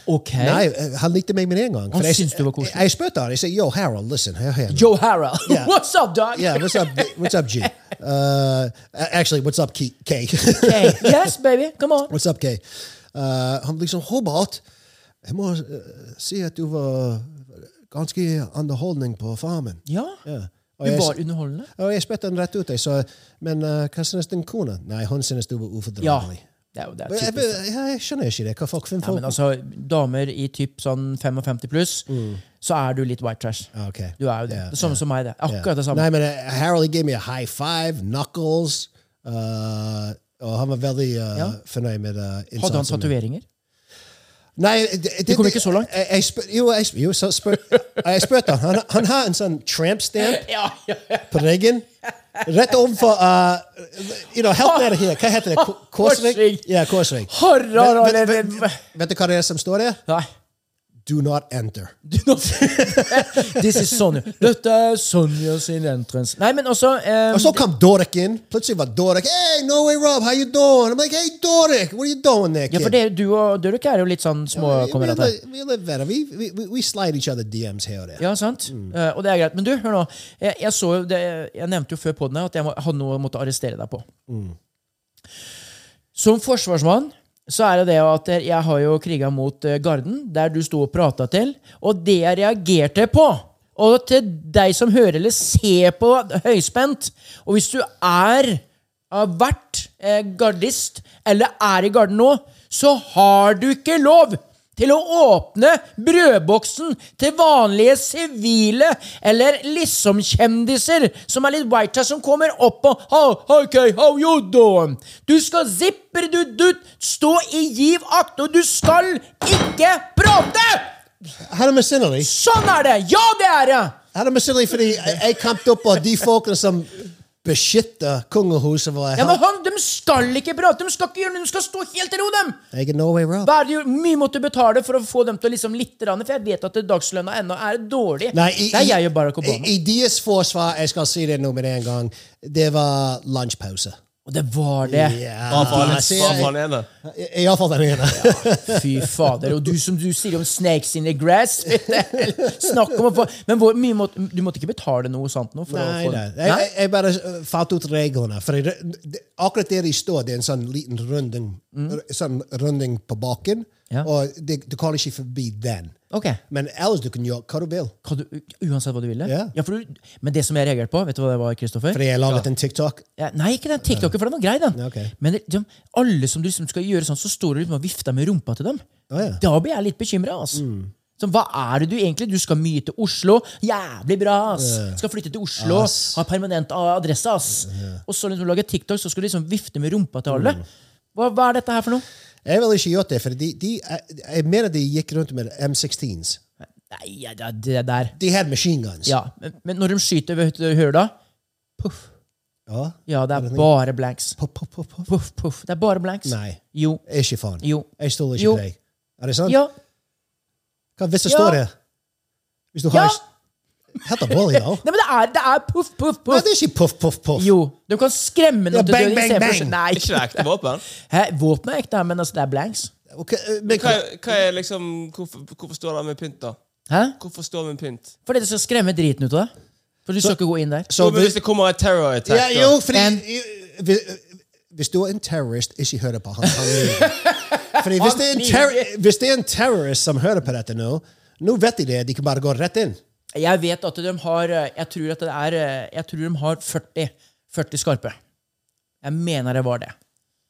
S1: Ok.
S2: Nei, eh, han likte meg med en gang.
S1: Han
S2: For jeg-
S1: syntes du var koselig.
S2: Jeg, jeg spurte han. Jeg sa yo, Harold, listen. Hør her. nå."
S1: Joe Harrell.
S2: Ja.
S1: What's up, dog?
S2: Yeah, what's up? What's up, G? Uh, actually, what's up, K? K?
S1: Hey, yes, baby. Come on.
S2: what's up, K? Uh, han liksom Hobart Jeg må eh, si at du var ganske underholdning på Farmen.
S1: Ja.
S2: Ja. Og
S1: Du
S2: jeg-
S1: var underholdende.
S2: og jeg spurte han rett ut. Jeg sa men eh, hva synes din kone? Nei, hun synes du var
S1: Ja.
S2: ufordragelig.
S1: Det er jo det er
S2: Men Jeg,
S1: typisk.
S2: jeg, jeg skjønner ikke det. Hva folk finner
S1: Nei,
S2: på.
S1: men altså, damer i typ sånn 55 pluss, så er du litt white trash.
S2: Mm. Ah, ok.
S1: Du er jo det.
S2: Ja,
S1: det samme som meg, det. Akkurat det samme.
S2: Nei, men uh, Harold gave me a high five, knuckles. Uh, og han var veldig uh,
S1: Ja.
S2: fornøyd med uh, innsatsen.
S1: Hadde han
S2: min.
S1: tatoveringer?
S2: Nei, det,
S1: kom ikke så langt.
S2: Jeg, jeg spør, jo, jeg, spør- jo, så spør, jeg spurte han. han. Han har en sånn tramp-stamp
S1: Ja, ja, ja.
S2: på ryggen. Rett overfor uh, you know, Helt nede her. Hva heter det? Ko- Korsvik?
S1: Korsvik.
S2: Ja, Korsvik.
S1: Harald,
S2: Vet- vet-
S1: eller-
S2: vet- Vet du hva det er som står der?
S1: Nei.
S2: Do not enter.
S1: Du, nå- This is Sonja. Dette er Sonja sin entrance. Nei, men også eh,
S2: Og så kom Dorek inn. Plutselig var Dorek Hey, no way, Rob, how you doing? I'm like, hey, Dorek, what are you doing there, kid?
S1: Ja, for det, du og Durek er jo litt sånn
S2: we,
S1: småkamerater.
S2: live, we live better. We, we, we- we slide each other DMs here or there.
S1: Ja, sant? Eh, og det er greit. Men du, hør nå. Jeg, jeg, så jo det, jeg nevnte jo før podden her at jeg må, hadde noe jeg måtte arrestere deg på. Som forsvarsmann så er det det at jeg har jo kriga mot eh, Garden, der du sto og prata til. Og det jeg reagerte på Og til deg som hører eller ser på høyspent Og hvis du er har vært eh, gardist, eller er i garden nå, så har du ikke lov til å åpne brødboksen til vanlige sivile eller liksom-kjendiser som er litt white som kommer opp og how, OK, how you doing? Du skal zipper du dutt, stå i giv akt, og du skal ikke prate!
S2: Hadde misunnelig.
S1: Sånn er det! Ja, det er det!
S2: Hadde misunnelig fordi jeg jeg kampte opp av de folkene som beskytter kongehuset. hvor jeg
S1: Ja, men
S2: har-
S1: han, De skal ikke prate, de skal ikke gjøre noe, de skal stå helt i ro, dem!
S2: Jeg er no way, Rob.
S1: Hva er det jo- mye måtte du betale for å få dem til å liksom litt rann, For jeg vet at dagslønna ennå er dårlig.
S2: Nei, i,
S1: det er
S2: i-
S1: jeg og Barack Obama.
S2: I, i deres forsvar, jeg skal si det nå med en gang, det var lunsjpause.
S1: og det var det.
S3: Hva faen
S2: Ja, sier
S3: hva faen
S2: jeg.
S3: er det?
S2: Iallfall den ene.
S1: Fy fader. Og du som du sier om snakes in the grass Snakk om å få Men hvor mye måtte, du måtte ikke betale noe sånt nå? For
S2: Nei,
S1: å få,
S2: nei. Jeg, jeg, jeg bare uh, fant ut reglene. For det, det, akkurat der de står, det er en sånn liten runding, r- sånn runding på baken.
S1: Ja.
S2: Og det, du kan ikke forbi den.
S1: Ok.
S2: Men ellers du kan gjøre hva du vil.
S1: Kan du, uansett hva du ville?
S2: Ja.
S1: for du, men det som jeg reagerte på, vet du hva det var, Kristoffer?
S2: Fordi jeg laget en TikTok.
S1: Ja, nei, ikke den TikToken, for den var grei, den.
S2: Ja, ok.
S1: Men liksom, alle som du liksom skal gjøre sånn, så står du liksom og vifter med rumpa til dem.
S2: Å, ja. Mm.
S1: Da blir jeg litt bekymra. Altså. Sånn, hva er det du egentlig Du skal mye til Oslo. Jævlig bra! ass Skal flytte til Oslo,
S2: Ass.
S1: ha permanent a- adresse. ass Og så liksom du lager TikTok, så skal du liksom vifte med rumpa til alle.
S2: Mm.
S1: Hva, hva er dette her for noe?
S2: Jeg ville ikke gjort det, for de, de, jeg, jeg mener de gikk rundt med M16s.
S1: Nei, ja, det, det der
S2: De hadde machine guns.
S1: Ja, Men, men når de skyter, vet du hva du hører da? Puff.
S2: Ja.
S1: Ja, det er bare blanks.
S2: Puff, puff, puff, puff.
S1: Puff, puff. Det er bare blanks.
S2: Nei.
S1: Jo.
S2: Ikke faen.
S1: Jo.
S2: Jeg stoler ikke
S1: Jo.
S2: på deg. Er det sant?
S1: Ja.
S2: Hva hvis det
S1: Ja.
S2: står der? Hvis du
S1: Ja.
S2: har Helt alvorlig, da.
S1: Nei, men det er, det er puff, puff,
S2: Nei,
S1: puff.
S2: det er ikke puff, puff, puff.
S1: Jo, du kan skremme noen
S2: Ja,
S1: til
S2: bang,
S1: døden.
S2: bang,
S1: istedenfor å si-
S2: bang.
S1: Nei,
S3: Er ikke det ekte våpen?
S1: Hæ, våpenet er ekte, men altså, det er blanks.
S2: Ok, eh, men,
S3: Hva, er- hva er liksom, hvorfor, hvorfor står det med pynt, da?
S1: Hæ?
S3: Hvorfor står det med pynt?
S1: Fordi det skal skremme driten ut av deg. For du skal ikke gå inn der.
S2: så
S3: Jo, men hvis det kommer et terror attack,
S2: Ja,
S3: da?
S2: eh, jo, fordi hvis, hvis du er en terrorist, ikke hør på han. han lyver. Stephanie, hvis det, er en terror-
S1: han-
S2: hvis det er en terrorist som hører på dette nå, nå vet de det. De kan bare gå rett inn.
S1: Jeg vet at de har eh, Jeg tror at det er eh, Jeg tror de har 40 40 skarpe. Jeg mener det var det.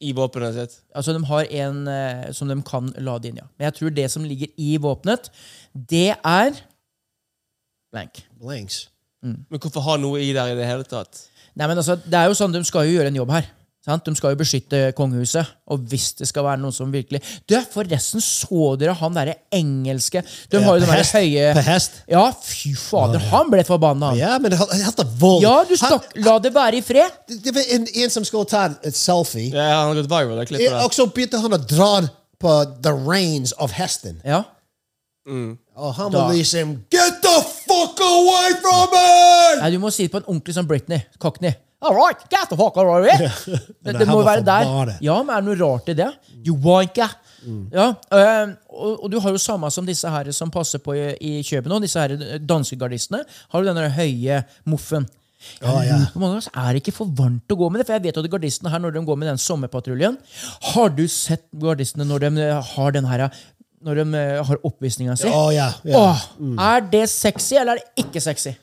S3: I våpenet sitt.
S1: Altså De har en eh, som de kan lade inn, ja. Men jeg tror det som ligger i våpenet, det er blank.
S2: Blanks.
S3: Men hvorfor ha noe i der i det hele tatt?
S1: Nei, men altså, det er jo sånn, De skal jo gjøre en jobb her. Sant? De skal jo beskytte kongehuset. Og hvis det skal være noen som virkelig Du, Forresten, så dere han derre engelske De
S2: Ja,
S1: har jo den
S2: på
S1: derre
S2: hest. På
S1: høye
S2: hest.
S1: Ja, fy fader. Han ble forbanna, han.
S2: Ja, men det er helt vold.
S1: Ja, du
S2: Han-
S1: stakk La det være i fred.
S2: Det det var en, en som skulle ta et selfie,
S3: Ja, han har gått viral, det klippet
S2: og
S3: der.
S2: så begynte han å dra på the reins of hesten.
S1: Ja.
S2: Og han
S1: Da.
S2: må liksom Get the fuck away from me!
S1: Nei, du må si det på en ordentlig sånn Britney. Cockney. All right, get the fuck out of here. Det,
S2: Men
S1: det
S2: her
S1: må
S2: var
S1: være
S2: for
S1: der.
S2: bare.
S1: Ja, men er det noe rart i det? You wanka. Ja, eh, og, og du har jo samme som disse her som passer på i, i København, disse her danskegardistene. Har du den der høye moffen?
S2: Ja, ja.
S1: Hvor mange av oss er det ikke for varmt å gå med det? For jeg vet at gardistene her, når de går med den sommerpatruljen Har du sett gardistene når de eh, har den her Når de eh, har oppvisninga si?
S2: Å ja. ja. Mm.
S1: Åh, Er det sexy, eller er det ikke sexy?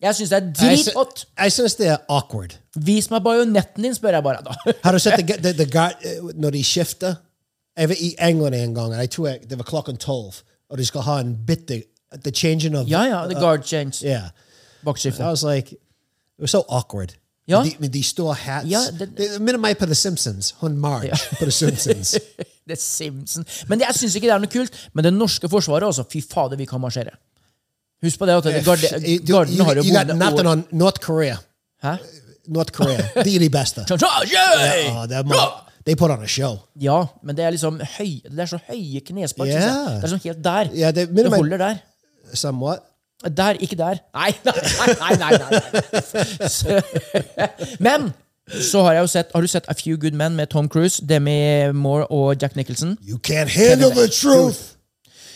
S1: Jeg syns det er
S2: Jeg sy-
S1: dritrått.
S2: Jeg synes det er awkward.
S1: Vis meg bajonetten din, spør jeg bare da.
S2: Har du sett det, det, det, gar- eh, når de skifter? Jeg var i England en gang, og jeg tror jeg, det var klokken tolv. Og de skal ha en bitte The changing of
S1: Ja, ja, the guard change.
S2: Yeah. I
S1: Bakskifte.
S2: was like, it was so awkward.
S1: Ja.
S2: Med de, med de store hats.
S1: Ja,
S2: det,
S1: det-
S2: minner meg på The Simpsons. Hun Marge på The Simpsons.
S1: Det er Simpson. Men det, jeg syns ikke det er noe kult. Men det norske forsvaret, altså. Fy fader, vi kan marsjere. Husk på det at det- garde,
S2: You-
S1: garden har jo
S2: you got nothing
S1: bonde og
S2: on North Korea.
S1: Hæ?
S2: North Korea. De er de beste. Ja, det er ma- they put on a show.
S1: Ja, men det er liksom høy, Det er så høye knespark. synes jeg.
S2: Ja.
S1: Det er sånn helt der.
S2: Ja, det- men-
S1: det holder der.
S2: Somewhat.
S1: Der, ikke der. Nei, nei, nei. nei, nei, nei. Så- Men så har jeg jo sett Har du sett A Few Good Men med Tom Cruise, Demi Moore og Jack Nicholson?
S2: You can't handle the truth.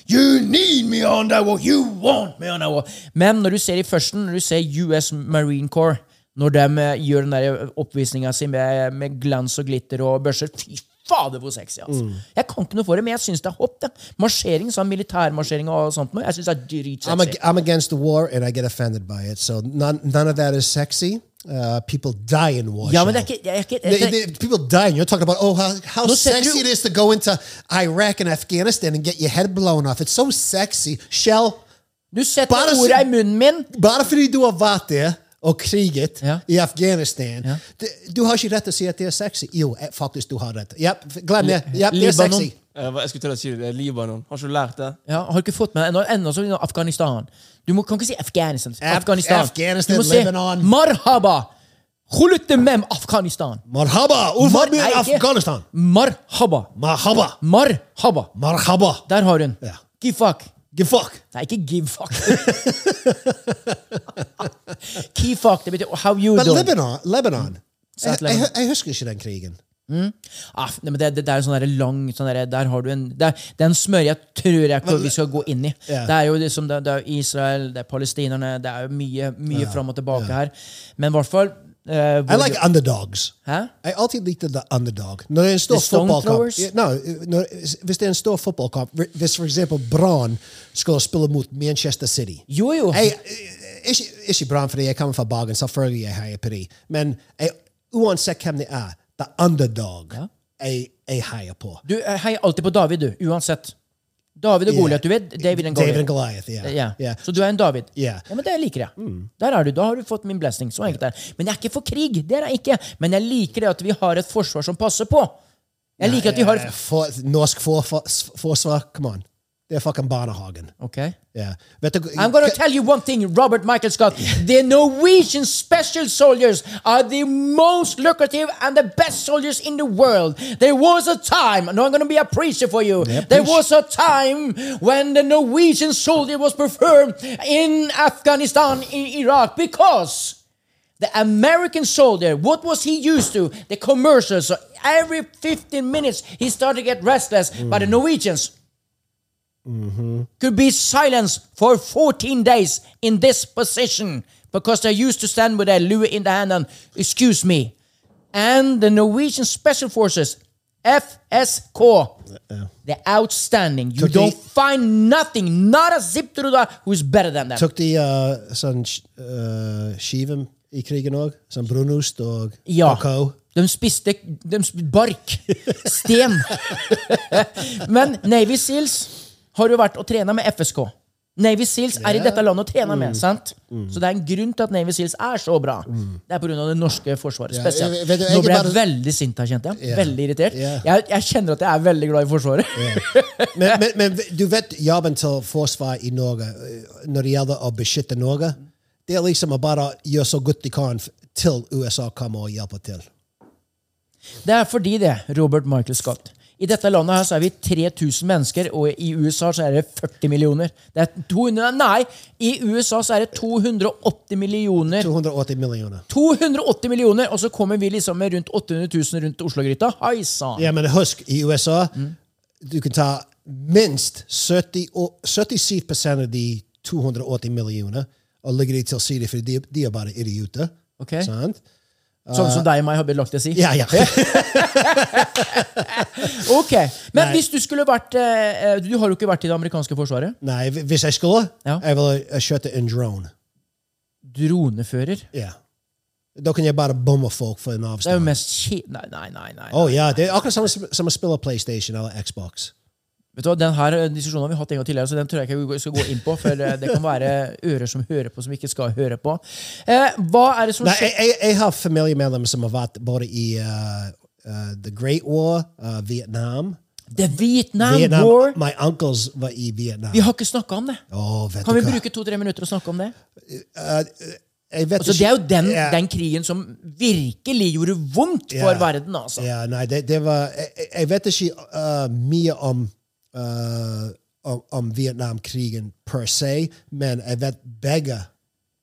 S1: You need me on that wall, you want me on that wall. Men når du ser i førsten, når du ser US Marine Corps, når de eh, gjør den der oppvisninga si med, eh, med glans og glitter og børser Fy fader, hvor sexy! altså. Jeg kan ikke noe for det, men jeg syns det er hopp. det. Marsjering, sånn militærmarsjering og sånt noe, jeg syns det er
S2: I'm, ag-
S1: dritsexy.
S2: I'm against the war and I get offended by it. So none, none of that is sexy. Uh, people die in war.
S1: Ja, men det
S2: show.
S1: er ikke, jeg er ikke
S2: They- they- people dying. You're talking about oh how, how
S1: No, said
S2: sexy
S1: you-
S2: it is to go into Iraq and Afghanistan and get your head blown off. It's so sexy. Shell,
S1: Du setter
S2: Bare si-
S1: orda i munnen min!
S2: bare fordi du har vært der og kriget
S1: Ja.
S2: i Afghanistan,
S1: Ja.
S2: det- du har ikke rett til å si at det er sexy. Jo, eh, faktisk, du har rett. Yep, glem det. Yep, det er
S1: Libanon.
S2: sexy.
S3: Eh, hva- Jeg skulle til å si det, det er Libanon. Har ikke du lært det?
S1: Ja, har ikke fått med deg ennå. Ennå så er det Afghanistan. Du må, kan ikke si Afghanistan.
S2: Af-
S1: Afghanistan.
S2: Afghanistan,
S1: du må si
S2: Lebanon.
S1: Marhaba! Khulutemem Afghanistan.
S2: Marhaba, ufa min
S1: Nei, ikke.
S2: Afghanistan.
S1: Marhaba.
S2: Marhaba,
S1: Marhaba.
S2: marhaba.
S1: Der har hun.
S2: Ja.
S1: Give fuck.
S2: Give fuck.
S1: Nei, ikke give fuck. Key fuck, det betyr "Oh, how you
S2: But
S1: doing.
S2: Lebanon, Lebanon. Jeg,
S1: South
S2: jeg,
S1: Lebanon.
S2: jeg husker ikke den krigen.
S1: Ah, nei, men det, det, det er en sånn der lang sånn der, der har du en, det er, Den smørja tror jeg ikke vi skal gå inn i.
S2: Ja.
S1: Det er jo liksom, det, det er Israel, det er palestinerne, det er jo mye, mye fram og tilbake her. Men i hvert fall eh,
S2: I
S1: hvor-
S2: like underdogs.
S1: Hæ?
S2: Jeg har alltid likte the underdog. Når det er en stor
S1: The stone
S2: fotballkamp
S1: throwers?
S2: Ja, no, når, Hvis det er en stor fotballkamp, hvis for eksempel Brann skal spille mot Manchester City
S1: Jo, jo.
S2: jeg, ikke, ikke Brann, fordi jeg kommer fra Bergen, selvfølgelig er jeg heier på dem. Men jeg, uansett hvem det er, the underdog jeg, jeg heier på.
S1: Du eh, heier alltid på David, du. Uansett. David og Goliat, du vet. David og
S2: David and
S1: Goliat.
S2: Goliath, ja.
S1: Ja.
S2: Ja.
S1: Så du er en David?
S2: Ja. Mm.
S1: Ja, men Det liker jeg. Der er du, Da har du fått min blessing. så enkelt er det. Men jeg er ikke for krig. det er jeg ikke. Men jeg liker det at vi har et forsvar som passer på. Jeg liker at vi har...
S2: Eh, For, norsk for, for, forsvar, come on. Det er fucking barnehagen.
S1: Ok.
S2: Ja. Vet du,
S1: I'm gonna tell you one thing, Robert Michael Scott. The Norwegian special soldiers are the most lucrative and the best soldiers in the world. There was a time, and I'm gonna be a preacher for you. there
S2: preach.
S1: was a time when the Norwegian soldier was preferred in Afghanistan, in Iraq, because the American soldier, what was he used to? The commercials. So every 15 minutes, he started to get restless by the Norwegians could be silenced for 14 days in this position because they used to stand with their Louis in the hand and excuse me. And the Norwegian Special Forces FSK. The outstanding. You
S2: Took the-
S1: don't find nothing, not a zip through that who's better than them.
S2: Tok de uh, sånn uh, skiven i krigen òg? Sånn brunost og
S1: Ja.
S2: kakao?
S1: De spiste de sp bark. Sten. Men Navy Seals har jo vært og trena med FSK. Navy Seals er i dette landet og trener
S2: Mm.
S1: med. sant? Så det er en grunn til at Navy Seals er så bra. Det er pga. det norske forsvaret
S2: Mm. Ja,
S1: spesielt.
S2: jeg- vet du,
S1: Nå
S2: jeg
S1: ble jeg
S2: bare-
S1: veldig sint her, kjente jeg.
S2: Ja.
S1: Veldig irritert.
S2: Ja.
S1: Jeg, jeg kjenner at jeg er veldig glad i Forsvaret.
S2: Men, men, men du vet jobben til forsvar i Norge eh, når det gjelder å beskytte Norge? Det er liksom å bare gjøre så godt de kan f- til USA kommer og hjelper til.
S1: Det er fordi det, Robert Michael Scott. I dette landet her så er vi 3000 mennesker, og i USA så er det 40 millioner. Det er 200, nei, i USA så er det 280 millioner.
S2: 280 millioner.
S1: 280 millioner, og så kommer vi liksom med rundt 800 000 rundt Oslo-gryta. Hei sann!
S2: Ja, men husk, i USA du kan ta minst 70, og- 77 av de 280 millioner og legge de til side, for de, de er bare idioter.
S1: Ok.
S2: Sant?
S1: Sånn som deg og meg har blitt lagt til å si.
S2: eh, Ja, ja.
S1: Ok, Men hvis du skulle vært eh, eh, Du har jo ikke vært i det amerikanske forsvaret.
S2: Nei, hvi- hvis jeg skulle,
S1: Ja.
S2: jeg ville eh, kjørt en drone.
S1: Dronefører.
S2: Ja. Da kan jeg bare bomme folk for en
S1: Det er
S2: avstand.
S1: jo mest kje... Nei, nei, nei. nei.
S2: Å ja, det er akkurat samme som- som å spille PlayStation eller Xbox.
S1: Vet du hva, Den her eh, diskusjonen har vi hatt en gang tidligere, så den tror jeg ikke vi skal gå inn på. For eh, det kan være ører som hører på, som ikke skal høre på. Eh, hva er det som
S2: Nei,
S1: skjer?
S2: jeg, jeg, jeg har familiemedlemmer som har vært både i uh, uh, The Great War, uh, Vietnam.
S1: The Vietnam,
S2: Vietnam
S1: War.
S2: My uncles var i Vietnam. Oh,
S1: Vi har ikke snakka om det.
S2: Å, vet
S1: Kan
S2: du
S1: vi
S2: hva?
S1: bruke to-tre minutter og snakke om det?
S2: Jeg vet
S1: Altså,
S2: ikke-
S1: det er jo den,
S2: Ja,
S1: den krigen som virkelig gjorde vondt for
S2: Ja.
S1: verden, altså.
S2: Ja, nei, det, det var jeg, jeg- jeg e, vet ikke uh, mye om uh, om, om Vietnamkrigen per se, men jeg vet begge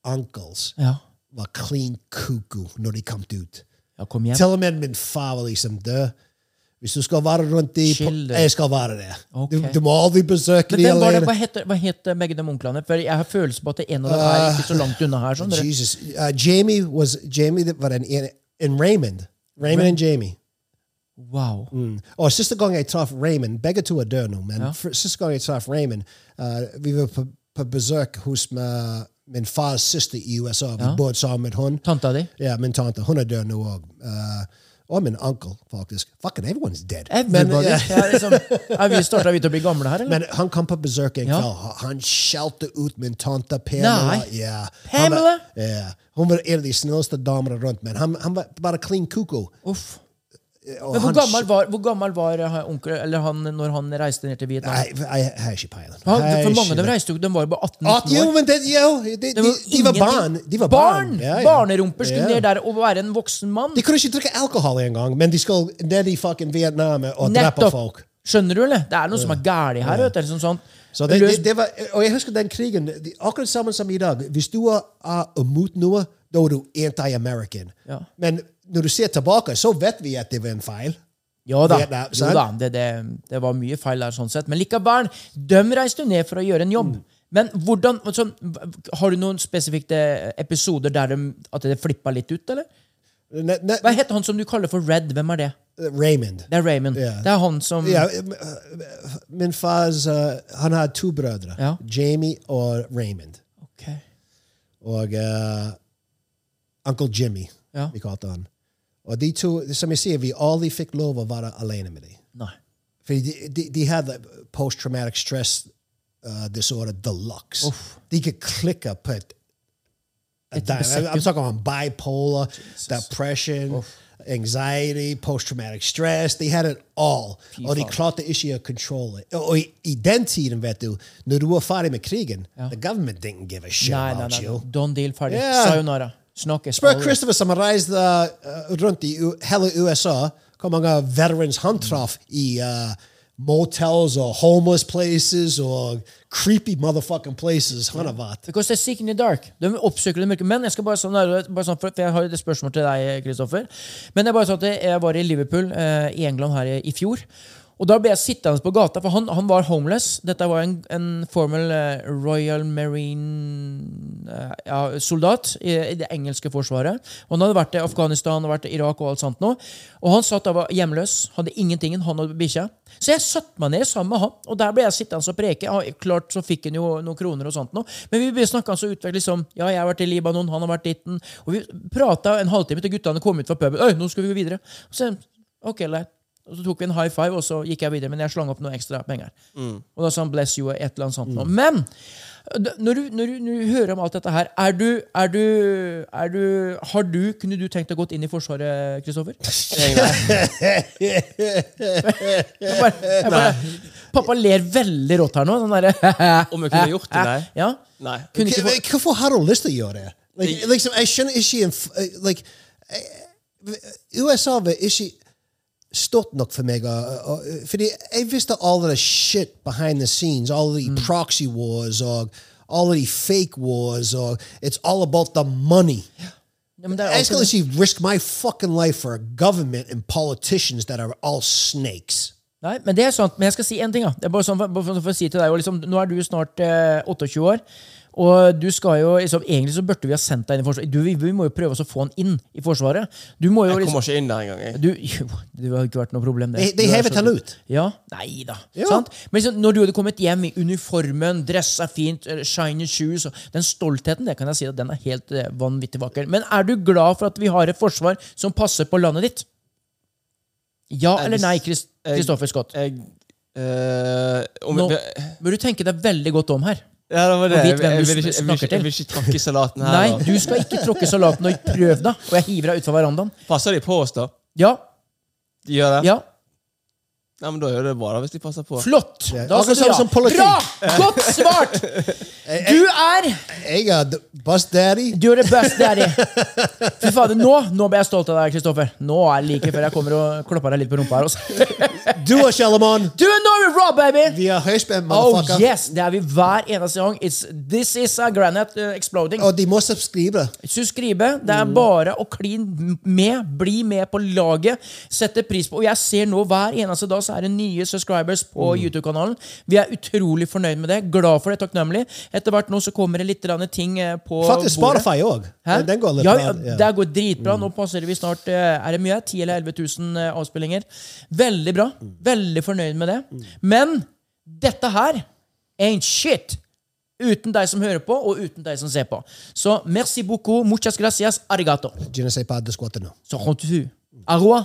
S2: uncles
S1: Ja.
S2: var clean kuku når de kom ut.
S1: Ja, kom igjen.
S2: Til og med min far var liksom død. Hvis du skal være rundt de
S1: Chill, du.
S2: Jeg skal være der.
S1: Ok.
S2: Du, du må aldri besøke
S1: Men
S2: de
S1: hvem var det,
S2: alene.
S1: hva, heter, hva heter begge de onklene? For jeg har følelsen på at det en av dem er
S2: Ah.
S1: ikke så langt unna her. Sånn, dere.
S2: Jesus. Uh, Jamie was Jamie that- var en, en, en Raymond. Raymond and Jamie.
S1: Wow.
S2: Og siste gang jeg traff Raymond Begge to er døde nå, men fr- siste gang jeg traff Raymond uh, Vi var på, på besøk hos uh, min E fars søster i USA. Vi bodde sammen med hun.
S1: Tanta di?
S2: Ja, min tante. Hun er død nå òg. Uh, og min onkel, faktisk. Fucking everyone's dead.
S1: Everybody.
S2: ja.
S1: Det er liksom, er vi starta vidt å bli gamle her, eller?
S2: Men han kom på besøk en
S1: Ja.
S2: kveld. Han skjelte ut min tante Pamela.
S1: Nei.
S2: Ja.
S1: Pamela?
S2: Han var, ja. Hun var en av de snilleste damene rundt, men han, han var bare clean koko.
S1: Uff. Men hvor gammel var, hvor gammel var eh, onkel, eller han når han reiste ned til Vietnam?
S2: Nei, jeg jeg har ikke peiling.
S1: Han,
S2: Jeg
S1: for
S2: har
S1: mange av
S2: ikke
S1: dem
S2: det.
S1: reiste jo, de var jo bare 18
S2: At, jo,
S1: år.
S2: men det, jo, de, de,
S1: Det
S2: de, var
S1: ingenting.
S2: barn. De var barn. Ja, ja.
S1: Barnerumper skulle
S2: Ja.
S1: ned der og være en voksen mann.
S2: De kunne ikke drikke alkohol engang, men de skal ned i fucking Vietnam og drepe folk.
S1: Skjønner du, eller? Det er noe som er galt her. Vet du. Liksom sånn,
S2: Så det,
S1: løs-
S2: det, det var, og jeg husker den krigen. det- Akkurat samme som i dag. Hvis du er er imot noe, da er du anti-American.
S1: Ja.
S2: Men når du ser tilbake, så vet vi at det var en feil.
S1: Ja da.
S2: Vietnam,
S1: jo
S2: sant?
S1: da det, det, det var mye feil der, sånn sett. Men likevel, de reiste jo ned for å gjøre en jobb. Men hvordan, altså, Har du noen spesifikke episoder der de, at det flippa litt ut, eller?
S2: Ne, ne,
S1: Hva heter han som du kaller for Red? Hvem er det?
S2: Raymond.
S1: Det er Raymond.
S2: Ja.
S1: Det er han som
S2: Ja, min fars uh, Han har to brødre.
S1: Ja.
S2: Jamie og Raymond.
S1: Ok.
S2: Og uh, Uncle Jimmy,
S1: Ja.
S2: vi kalte han. Og de to, som jeg sier, vi aldri fikk lov å være alene med dem.
S1: Nei.
S2: For de, de, de hadde post-traumatic stress uh, disorder deluxe. De could click up at
S1: Et
S2: I'm, I'm
S1: sekund.
S2: talking about bipolar, depression, anxiety, post-traumatic stress. They had it all. og de klarte ikke å control it. Og i, i den tiden, vet du, når du var ferdig med krigen, the government didn't give a shit
S1: Nei, nei,
S2: about
S1: nei.
S2: you.
S1: Don Deal ferdig.
S2: Ja.
S1: Sayonara. Snakkes.
S2: Spør
S1: aldri.
S2: Christopher som har reist uh, rundt i U- hele USA, hvor mange veterans han traff i uh, motels og homeless places og creepy motherfucking places han har vært.
S1: Because they're seeking the dark. De oppsøker det mørke. Men jeg skal bare sånn, bare sånn for, for jeg har et spørsmål til deg, Kristoffer. Men det er bare sånn at jeg var i Liverpool eh, i England her i, i fjor. Og da ble jeg sittende på gata, for han, han var homeless. Dette var en, en formel eh, Royal Marine eh, ja, soldat i, i det engelske forsvaret. Og han hadde vært i Afghanistan og vært i Irak og alt sånt nå. Og han satt da var hjemløs, hadde ingenting, han og bikkja. Så jeg satte meg ned sammen med han, og der ble jeg sittende og preke. Ja, klart så fikk han jo noen kroner og sånt nå. Men vi snakka så utviklet liksom Ja, jeg har vært i Libanon, han har vært ditten. Og vi prata en halvtime til guttene kom ut fra puben. Øy, nå skal vi gå videre. Og så, ok, leit. Og så tok vi en high five, og så gikk jeg videre. Men jeg slang opp noen ekstra penger. Og da sa han 'bless you' og et eller annet sånt. nå. Men d- når du, når, du, når du hører om alt dette her, er du, er du, er du Har du Kunne du tenkt deg gått inn i Forsvaret, Kristoffer? Jeg bare, jeg bare, pappa ler veldig rått her nå. Sånn derre
S3: Om jeg kunne gjort det, nei.
S1: Ja.
S3: Nei.
S1: Kunne ikke få
S2: Hva- Hvorfor har hun lyst til å gjøre det? Like, liksom, jeg skjønner ikke en, f- eh, like, eh, USA var ikke stort nok for meg. og- og- Fordi jeg visste all the shit behind the scenes, all the proxy wars og all the fake wars. Og it's all about the money.
S1: ja, men det er
S2: Jeg skal
S1: alltid-
S2: ikke risk my fucking life for a government and politicians that are all snakes.
S1: Nei, men det er sant. Men jeg skal si en ting. Da. Det er bare sånn for, bare for, for å si til deg, og liksom, Nå er du snart eh, 28 år, og du skal jo liksom, egentlig så burde vi ha sendt deg inn i Forsvaret. Du, vi, vi må jo prøve oss å få han inn i Forsvaret. Du må jo
S3: Jeg
S1: liksom
S3: kommer ikke inn der engang. jeg.
S1: du, jo, det har ikke vært noe problem, det.
S2: They, they
S1: Du er
S2: haven't
S1: så-
S2: han ut.
S1: Ja, Nei da.
S2: Ja.
S1: Sant? Men liksom, når du hadde kommet hjem i uniformen, dressa fint, eh, shiny shoes og Den stoltheten det kan jeg si at den er helt eh, vanvittig vakker. Men er du glad for at vi har et forsvar som passer på landet ditt? Ja
S3: Jeg
S1: eller nei,
S3: dis-
S1: Krist-
S3: jeg-
S1: Kristoffer Scott?
S3: Jeg eh, om,
S1: Nå
S3: jeg-
S1: bør du tenke deg veldig godt om her.
S3: Ja, det var det.
S1: Og
S3: Jeg,
S1: vit hvem du
S3: jeg, vil ikke, jeg, vil
S1: snakker
S3: ikke, jeg
S1: til.
S3: vil ikke tråkke i salaten her.
S1: Nei,
S3: og-
S1: du skal ikke tråkke salaten og prøv deg. Og jeg hiver deg utfor verandaen.
S3: Passer de på oss, da?
S1: Ja,
S3: De gjør det?
S1: ja,
S3: Nei, men Da gjør det bra, da, hvis de passer på.
S1: flott! Da
S2: akkurat
S1: skal du
S2: samme
S1: ja.
S2: som politikk.
S1: Bra! Godt svart! Du er
S2: Jeg er the bus daddy.
S1: Du er det best, daddy. Fy fader, nå, nå ble jeg stolt av deg, Kristoffer. Nå er det like før jeg kommer og klapper deg litt på rumpa her. Også.
S2: Do it, Shalimon.
S1: Du er Norway Raw, baby!
S2: Vi er høyspent,
S1: Oh
S2: motherfucker.
S1: yes! Det er vi hver eneste gang. It's, this is a granite uh, exploding.
S2: Og de må subscribe.
S1: Subscribe. Det
S2: Mm.
S1: er bare å klin med. Bli med på laget. Sette pris på Og jeg ser nå hver eneste dag så er det nye subscribers
S2: Mm.
S1: på YouTube-kanalen. Vi er utrolig fornøyd med det. Glad for det. Takknemlig. Etter hvert nå så kommer det litt grann ting eh, på
S2: Faktisk
S1: bordet.
S2: Spotify òg.
S1: Hæ?
S2: Den går litt
S1: ja,
S2: bra.
S1: ja, Der går dritbra.
S2: Mm.
S1: Nå passerer vi snart eh, Er det mye? 10 eller 11 000 eh, avspillinger. Veldig bra.
S2: Mm.
S1: Veldig fornøyd med det. Men dette her ain't shit uten deg som hører på, og uten deg som ser på. Så merci beaucoup. Muchas gracias. Arigato.
S2: Je ne sais pas de ce qu'on a.
S1: Så rentre du.
S2: Mm.
S1: Arroa.